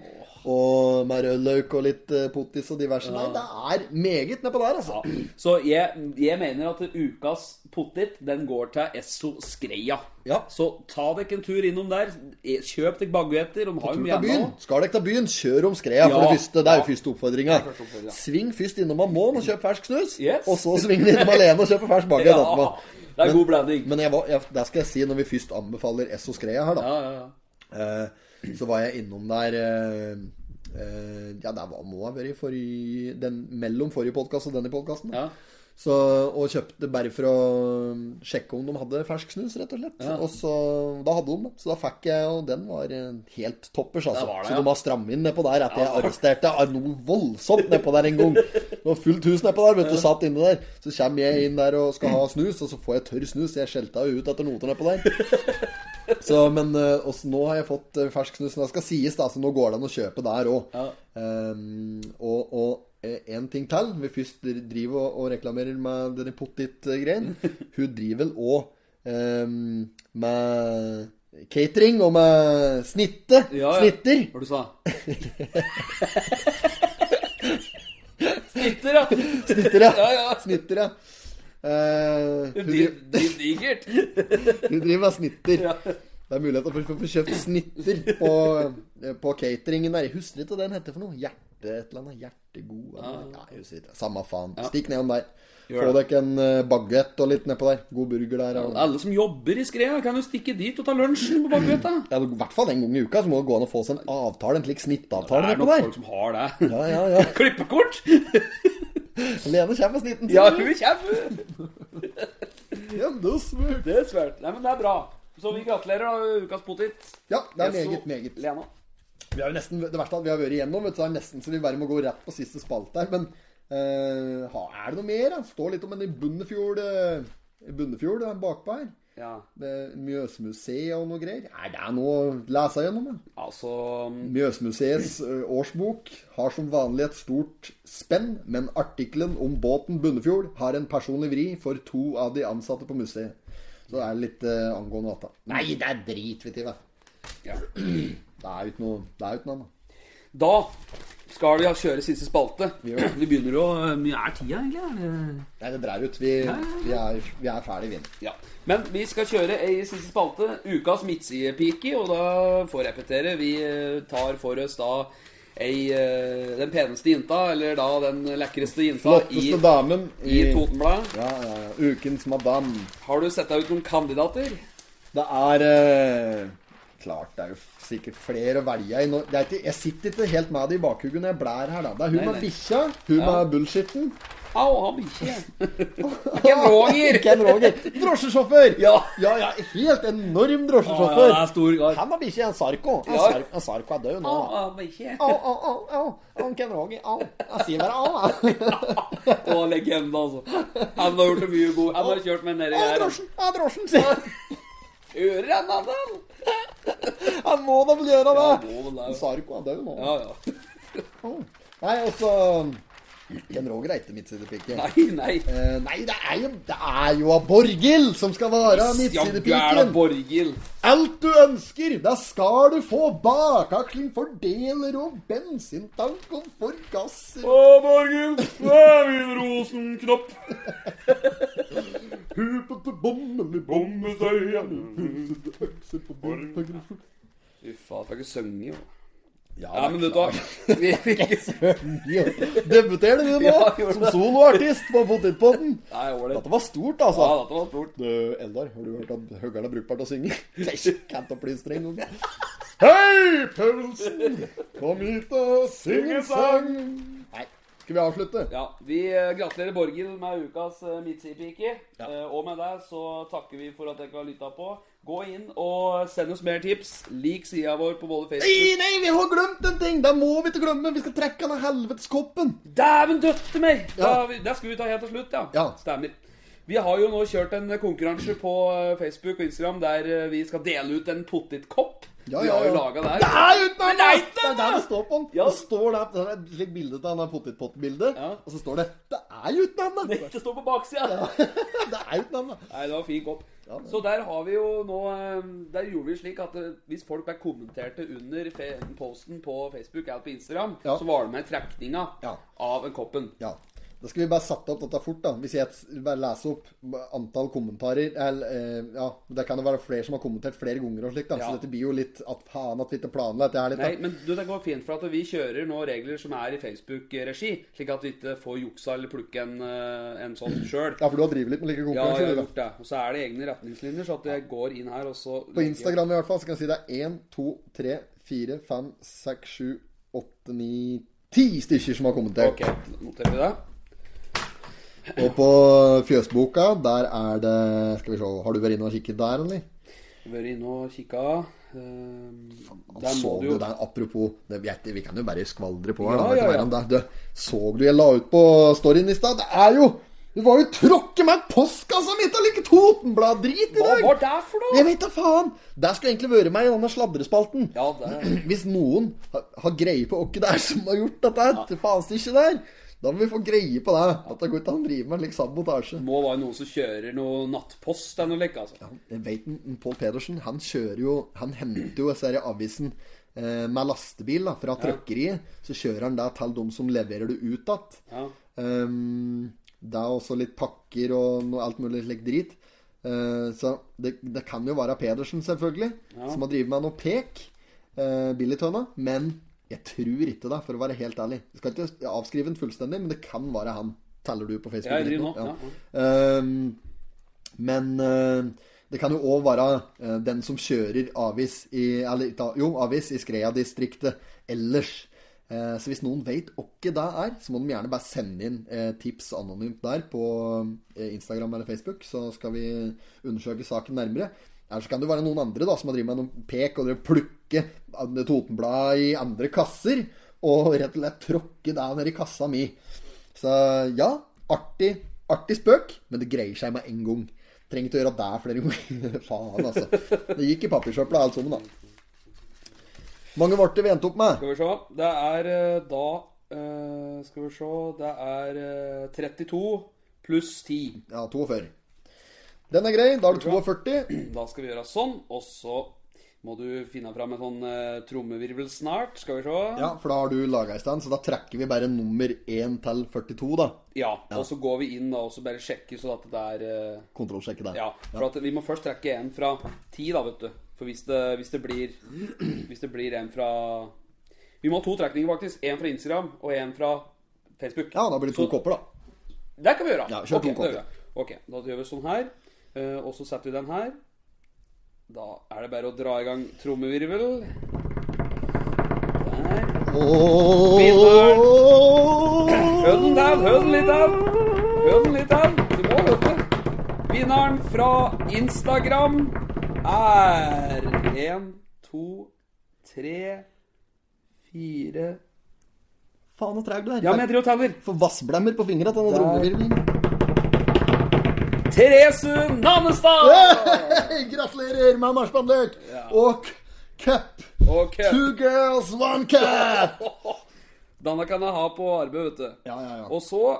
Og med rød løk og litt eh, pottis og diverse. Nei, det er meget nedpå der, altså.
Så jeg, jeg mener at ukas potet, den går til Esso Skreia.
Ja.
Så ta dere en tur innom der. E, Kjøp dere baguetter. De har jo
Tur
mye
til byen.
ennå.
Skal dere til byen, kjør om skreia, for
Ja.
det første. Det er jo
Ja.
første oppfordringa.
første oppfordringen.
Sving først innom Amon og kjøp fersk snus,
Yes.
og så sving innom alene og kjøp fersk baguett
[laughs] Ja,
etterpå.
det er god blanding.
Men jeg var, jeg, det skal jeg si når vi først anbefaler Esso Skreia her, da.
Ja, ja, ja.
Eh, så var jeg innom der eh, eh, Ja, det var, må ha vært i forrige den, mellom forrige podkast og denne podkasten.
Ja.
Så, og kjøpte bare for å um, sjekke om de hadde fersk snus, rett og slett. Og så, Da hadde de det. Så da fikk jeg, og den var eh, helt toppers, altså.
Det var det,
Så
ja.
de har strammet inn nedpå der etter jeg arresterte ah, noe voldsomt nedpå der en gang. Det var fullt hus nedpå der, vet du, satt inne der. Så kommer jeg inn der og skal ha snus, og så får jeg tørr snus. Jeg skjelta jo ut etter noter nedpå der. Så, men eh, også, nå har jeg fått eh, fersk snus. Det skal sies, da, så nå går det an å kjøpe der òg.
Ja.
og og eh, en ting til. Vi først driver og, og reklamerer med denne pottit-greien.
[laughs]
Hun driver vel òg med catering og med snitte.
Ja, ja.
Snitter.
[laughs] Hva du sa Snitter, ja.
Snitter, ja.
Ja, ja.
Snitter, ja. Eh, hun,
Din,
driver-
din digert.
hun driver med snitter.
Ja.
Det er mulighet for å få kjøpt snitter på, eh, på cateringen der. Jeg husker ikke hva den heter for noe. Hjerte et eller annet. Hjertegod eller noe. Nei, jeg husker ikke. Samme faen. Stikk nedom der. Få
Gjør det.
dere en eh, baguett og litt nedpå der. God burger der. og-
Alle som jobber i skreia, kan jo stikke dit og ta lunsjen på bakveta.
Ja, I hvert fall en gang i uka så må det gå an å få seg en avtale, en slik
Det
snittavtale
er
nedpå
nok
der.
folk som har det. [laughs]
Ja, ja, ja. [laughs]
Klippekort!
Lene kommer med snitten sin.
Ja, hun kommer!
Ja, det er smurt.
Det er svært. Nei, men det er bra. Så vi gratulerer, da, ukas potet.
Ja, det er
Yes,
meget,
så-
meget.
Lena.
Vi har jo nesten, det verste er at vi har vært igjennom, vet du, det er nesten så vi bare må gå rett på siste spalt der. Men eh, ha- er det noe mer? da? Står litt om en i Bunnefjord, eh, Bunnefjord eh, bakpå her.
Ja,
Det- Mjøsmuseet og noe greier. Er det noe å lese gjennom? da?
altså
Mjøsmuseets ø, årsbok har som vanlig et stort spenn, men artikkelen om båten Bunnefjord har en personlig vri for to av de ansatte på museet. Så det er litt ø, angående dette. Nei, det er drit, vet du. hva.
ja.
[clears throat] Det er jo ikke noe Det er jo ikke noe annet.
Da skal vi kjøre siste spalte. Vi
gjør det.
begynner å Mye er tida, egentlig? eller?
Nei, det dreier ut. Vi, vi er, vi er ferdig, vi.
Ja. Men vi skal kjøre ei siste spalte, ukas midtsidepike, og da får jeg repetere. Vi eh, tar for oss da ei eh, Den peneste jenta, eller da den lekreste jenta i,
Flotteste damen
i
i
Totenbladet.
ja, ja, ja. Ukens madam.
Har du sett deg ut noen kandidater?
Det er eh, Klart det er jo sikkert flere å velge i nå. Det er ikke, jeg sitter ikke helt med det i bakhugget når jeg blær her, da. Det er hun
Nei,
med
nei.
bikkja, hun
Ja.
med bullshitten.
Au, han
[laughs]
bikkje. Ken Roger!
Ken Roger. Drosjesjåfør!
Ja.
ja, ja, Helt enorm
Ja, det
drosjesjåfør.
er stor kar.
Han har bikkje, en Sarko. En,
Ja.
sar, en Sarko er død nå.
Au,
da.
han bikkje.
Au, au, au, au. Han Ken Roger, au. Jeg sier bare au, jeg.
Det var legende, altså. Han har gjort det mye god. Han har kjørt meg nedi
Au,
der.
drosjen, au, drosjen, sier jeg.
kjører han, Adal!
Han må da vel gjøre
Ja,
det!
må vel det.
Sarko er død nå.
Ja, ja.
Nei, altså Ken Roger er ikke midtsidepike. Nei.
Nei, nei.
nei, det er jo Det er jo av Borghild som skal være
Ja, gæla
midtsidepiken!
Borghild.
Alt du ønsker, det skal du få! Bakakling, fordeler og bensintank og forgasser.
Å, Borghild, det er min rosenknopp.
Hupet til bommen i bommen
Uff, han får ikke synge, jo.
Ja,
Ja, men vet du hva? Vi fikk ikke
Debuterer du nå
[laughs] Ja, gjorde
som
det.
soloartist på Potetpodden?
Nei, ålreit.
Dette var stort,
Ja,
altså.
dette var stort.
Du, Eldar, har du hørt at høgger'n er brukbart å
[laughs]
synge? Can't please streng om Hei, Paulsen! Kom hit og syng en sang! Nei, skal vi avslutte?
Ja, Vi eh, gratulerer Borghild med ukas eh, midtsidepike. Eh, og med det så takker vi for at dere har lytta på. Gå inn og send oss mer tips. Lik sida vår på både
Nei,
Facebook
nei, vi har glemt en ting! Det må vi ikke glemme! Vi skal trekke den helveteskoppen!
Dæven døtte meg! Da,
Ja.
vi- det skal vi ta helt til slutt, ja.
Ja.
Stemmer. Vi har jo nå kjørt en konkurranse på eh, Facebook og Instagram der eh, vi skal dele ut en potetkopp.
Ja,
vi
ja,
har jo
ja.
laga der.
Det er jo ikke
Men det
noe!
er ikke
Det er der det står på den.
Ja.
Det står der, det er et slikt bilde av den potetpottbildet,
Ja.
og så står det 'Det er jo ikke noe annet'.
Det står på baksida.
[laughs] Det er jo ikke noe annet.
Nei, det var en fin kopp.
Ja, det-
så der har vi jo nå eh, Der gjorde vi slik at eh, hvis folk ble kommenterte under fe posten på Facebook eller på Instagram,
Ja.
så var det med i trekninga
Ja.
av en koppen.
Ja. Da skal vi bare sette opp dette fort, da. Hvis jeg bare leser opp antall kommentarer eller, eh, Ja, det kan jo være flere som har kommentert flere ganger og slikt, da.
Ja.
Så dette blir jo litt at faen at vi ikke planla dette her litt, da.
Nei, men du, det går fint, for at vi kjører nå regler som er i Facebook-regi, slik at vi ikke får juksa eller plukke en, eh, en sånn sjøl.
Ja, for du har drevet litt med like
Ja, jeg har
konkurranser? du, da.
gjort det. Og så er det egne retningslinjer, så at jeg går inn her og så
På Instagram i hvert fall så kan jeg si det er 1, 2, 3, 4, 5, 6, 7, 8, 9 Ti stykker som har kommentert.
Ok, noterer vi det?
Og på Fjøsboka, der er det Skal vi se, har du vært inne og kikket der, eller?
Vært inne og kikka. eh,
Der
der
så
må
du
du jo
der, apropos det, vi, vi kan jo bare skvaldre på her.
Ja,
da, vet du
ja,
hva
ja.
om det. Du, så du jeg la ut på storyen i stad? Det er jo Det var jo tråkke meg postkassa mi av like Totenblad-drit i
Hva
dag!
var det for noe?
Jeg vet da faen! Det skulle egentlig vært meg i denne sladrespalten.
Ja, det
[clears throat] Hvis noen har, har greie på hvem det er som har gjort dette her, til faenstykket der, da må vi få greie på det. At det går ikke an å drive med en slik sabotasje.
må være noen som kjører noe nattpost eller noe like, altså.
Jeg vet en- en Pål Pedersen han kjører jo Han henter jo disse her i avisen eh, med lastebil da, fra trøkkeriet. Så kjører han det til dem som leverer det ut igjen.
Ja.
Ehm, det er også litt pakker og noe alt mulig slik drit. Eh, så det, det kan jo være Pedersen, selvfølgelig, som har drevet med noe pek. Uh, Billigtønna. Men jeg tror ikke det, for å være helt ærlig. Jeg skal ikke avskrive den fullstendig, men det kan være han. Teller du på Facebook?
Jeg driver nå,
Ehm, men eh, det kan jo òg være eh, den som kjører avis i, eller, ta- jo, avis i Skrea-distriktet ellers. Eh, så hvis noen veit åkke det er, så må de gjerne bare sende inn eh, tips anonymt der på eh, Instagram eller Facebook, så skal vi undersøke saken nærmere. Eller så kan det jo være noen andre da, som har drevet med noen pek og drevet plukke andre Totenblad i andre kasser, og rett og slett tråkke det ned i kassa mi. Så ja, artig, artig spøk, men det greier seg med en gang. Trenger ikke å gjøre det flere ganger. [laughs] Faen, altså. Det gikk i papirsøpla alt sammen, da. Mange ble vi endte opp med.
Skal vi se. Det er eh, da eh, Skal vi se Det er eh, 32 pluss 10.
Ja, 42. Den er grei. Da er det 42.
Da skal vi gjøre sånn, og så må du finne fram en sånn eh, trommevirvel snart. Skal vi se.
Ja, for da har du laga i stand, så da trekker vi bare nummer 1 til 42, da.
Ja, Og så går vi inn da, og så bare sjekker så at det er eh,
Kontrollsjekke der.
Ja, for at vi må først trekke en fra ti, da, vet du. For hvis det, hvis det blir [clears throat] Hvis det blir en fra Vi må ha to trekninger, faktisk. En fra Instagram og en fra Facebook.
Ja, da blir det to
Så-
kopper, da.
Det kan vi gjøre.
Ja, kjør
Ok,
to kopper.
det gjør vi. Ok, da gjør vi sånn her. eh, Og så setter vi den her. Da er det bare å dra i gang trommevirvel. Der. Hør den der, hør den litt der. Hør den litt der. Du må høre det. Vinneren fra Instagram er En, to, tre, fire
Faen, så treg du er.
Ja, men jeg driver og teller.
Får vassblemmer på fingra til den
Der.
trommevirvelen.
Therese Nannestad!
Gratulerer med marspandert! Og cup.
Ok.
Two girls, one cup!
[laughs] Danna kan jeg ha på arbeid, vet du.
Ja, ja, ja.
Og så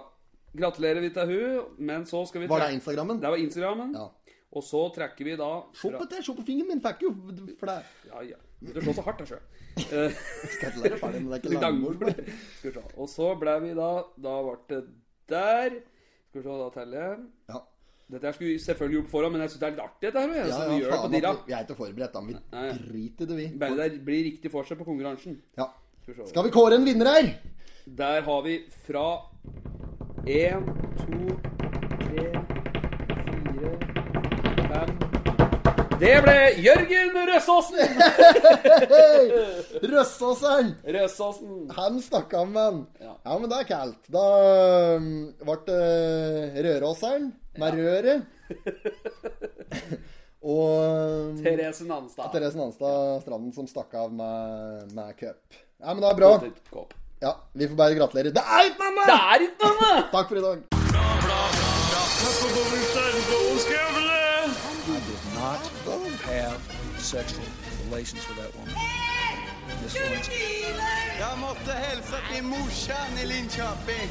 gratulerer vi til hun, men så skal vi
Var det
trekke-
Instagrammen?
Det var Instagrammen.
Ja.
Og så trekker vi da
Se på det, se på fingeren min. Fikk jo for det.
Ja, ja. Du slår så hardt, da, sjøl. Eh,
Skal
[laughs]
ikke være ferdig med det. er ikke langbord.
Langbord. Skal vi se. Og så ble vi da Da ble det der. Skal vi se, da teller jeg.
Ja,
Dette her skulle vi selvfølgelig gjort forhånd, men jeg syns det er litt artig, dette her. jeg.
ja,
så
ja,
vi gjør det på
faen. altså. at Vi vi
dirra.
er ikke forberedt, da. men Vi
Nei.
driter i det, vi.
Bare det blir riktig for seg på konkurransen.
Ja.
Skal vi se.
Skal vi kåre en vinner her?
Der har vi fra én, to, tre, fire, fem Det ble Jørgen Røsåsen!
Røssåseren!
Røsåsen.
Han snakka om han. Ja.
Ja.
men det er kaldt. Da um, ble det Røråseren med
[laughs]
røret. Og um,
Therese Nanstad.
Therese Nanstad Stranden som stakk av med, med cup. Ja, men det er bra.
Det
Ja, Vi får bare gratulere. Det er ikke noe mer!
er ikke noe! da.
Takk for i dag.
Not have sexual relations with that woman. Miss Lewinsky.
Jag måste hälsa till morsan i Linköping.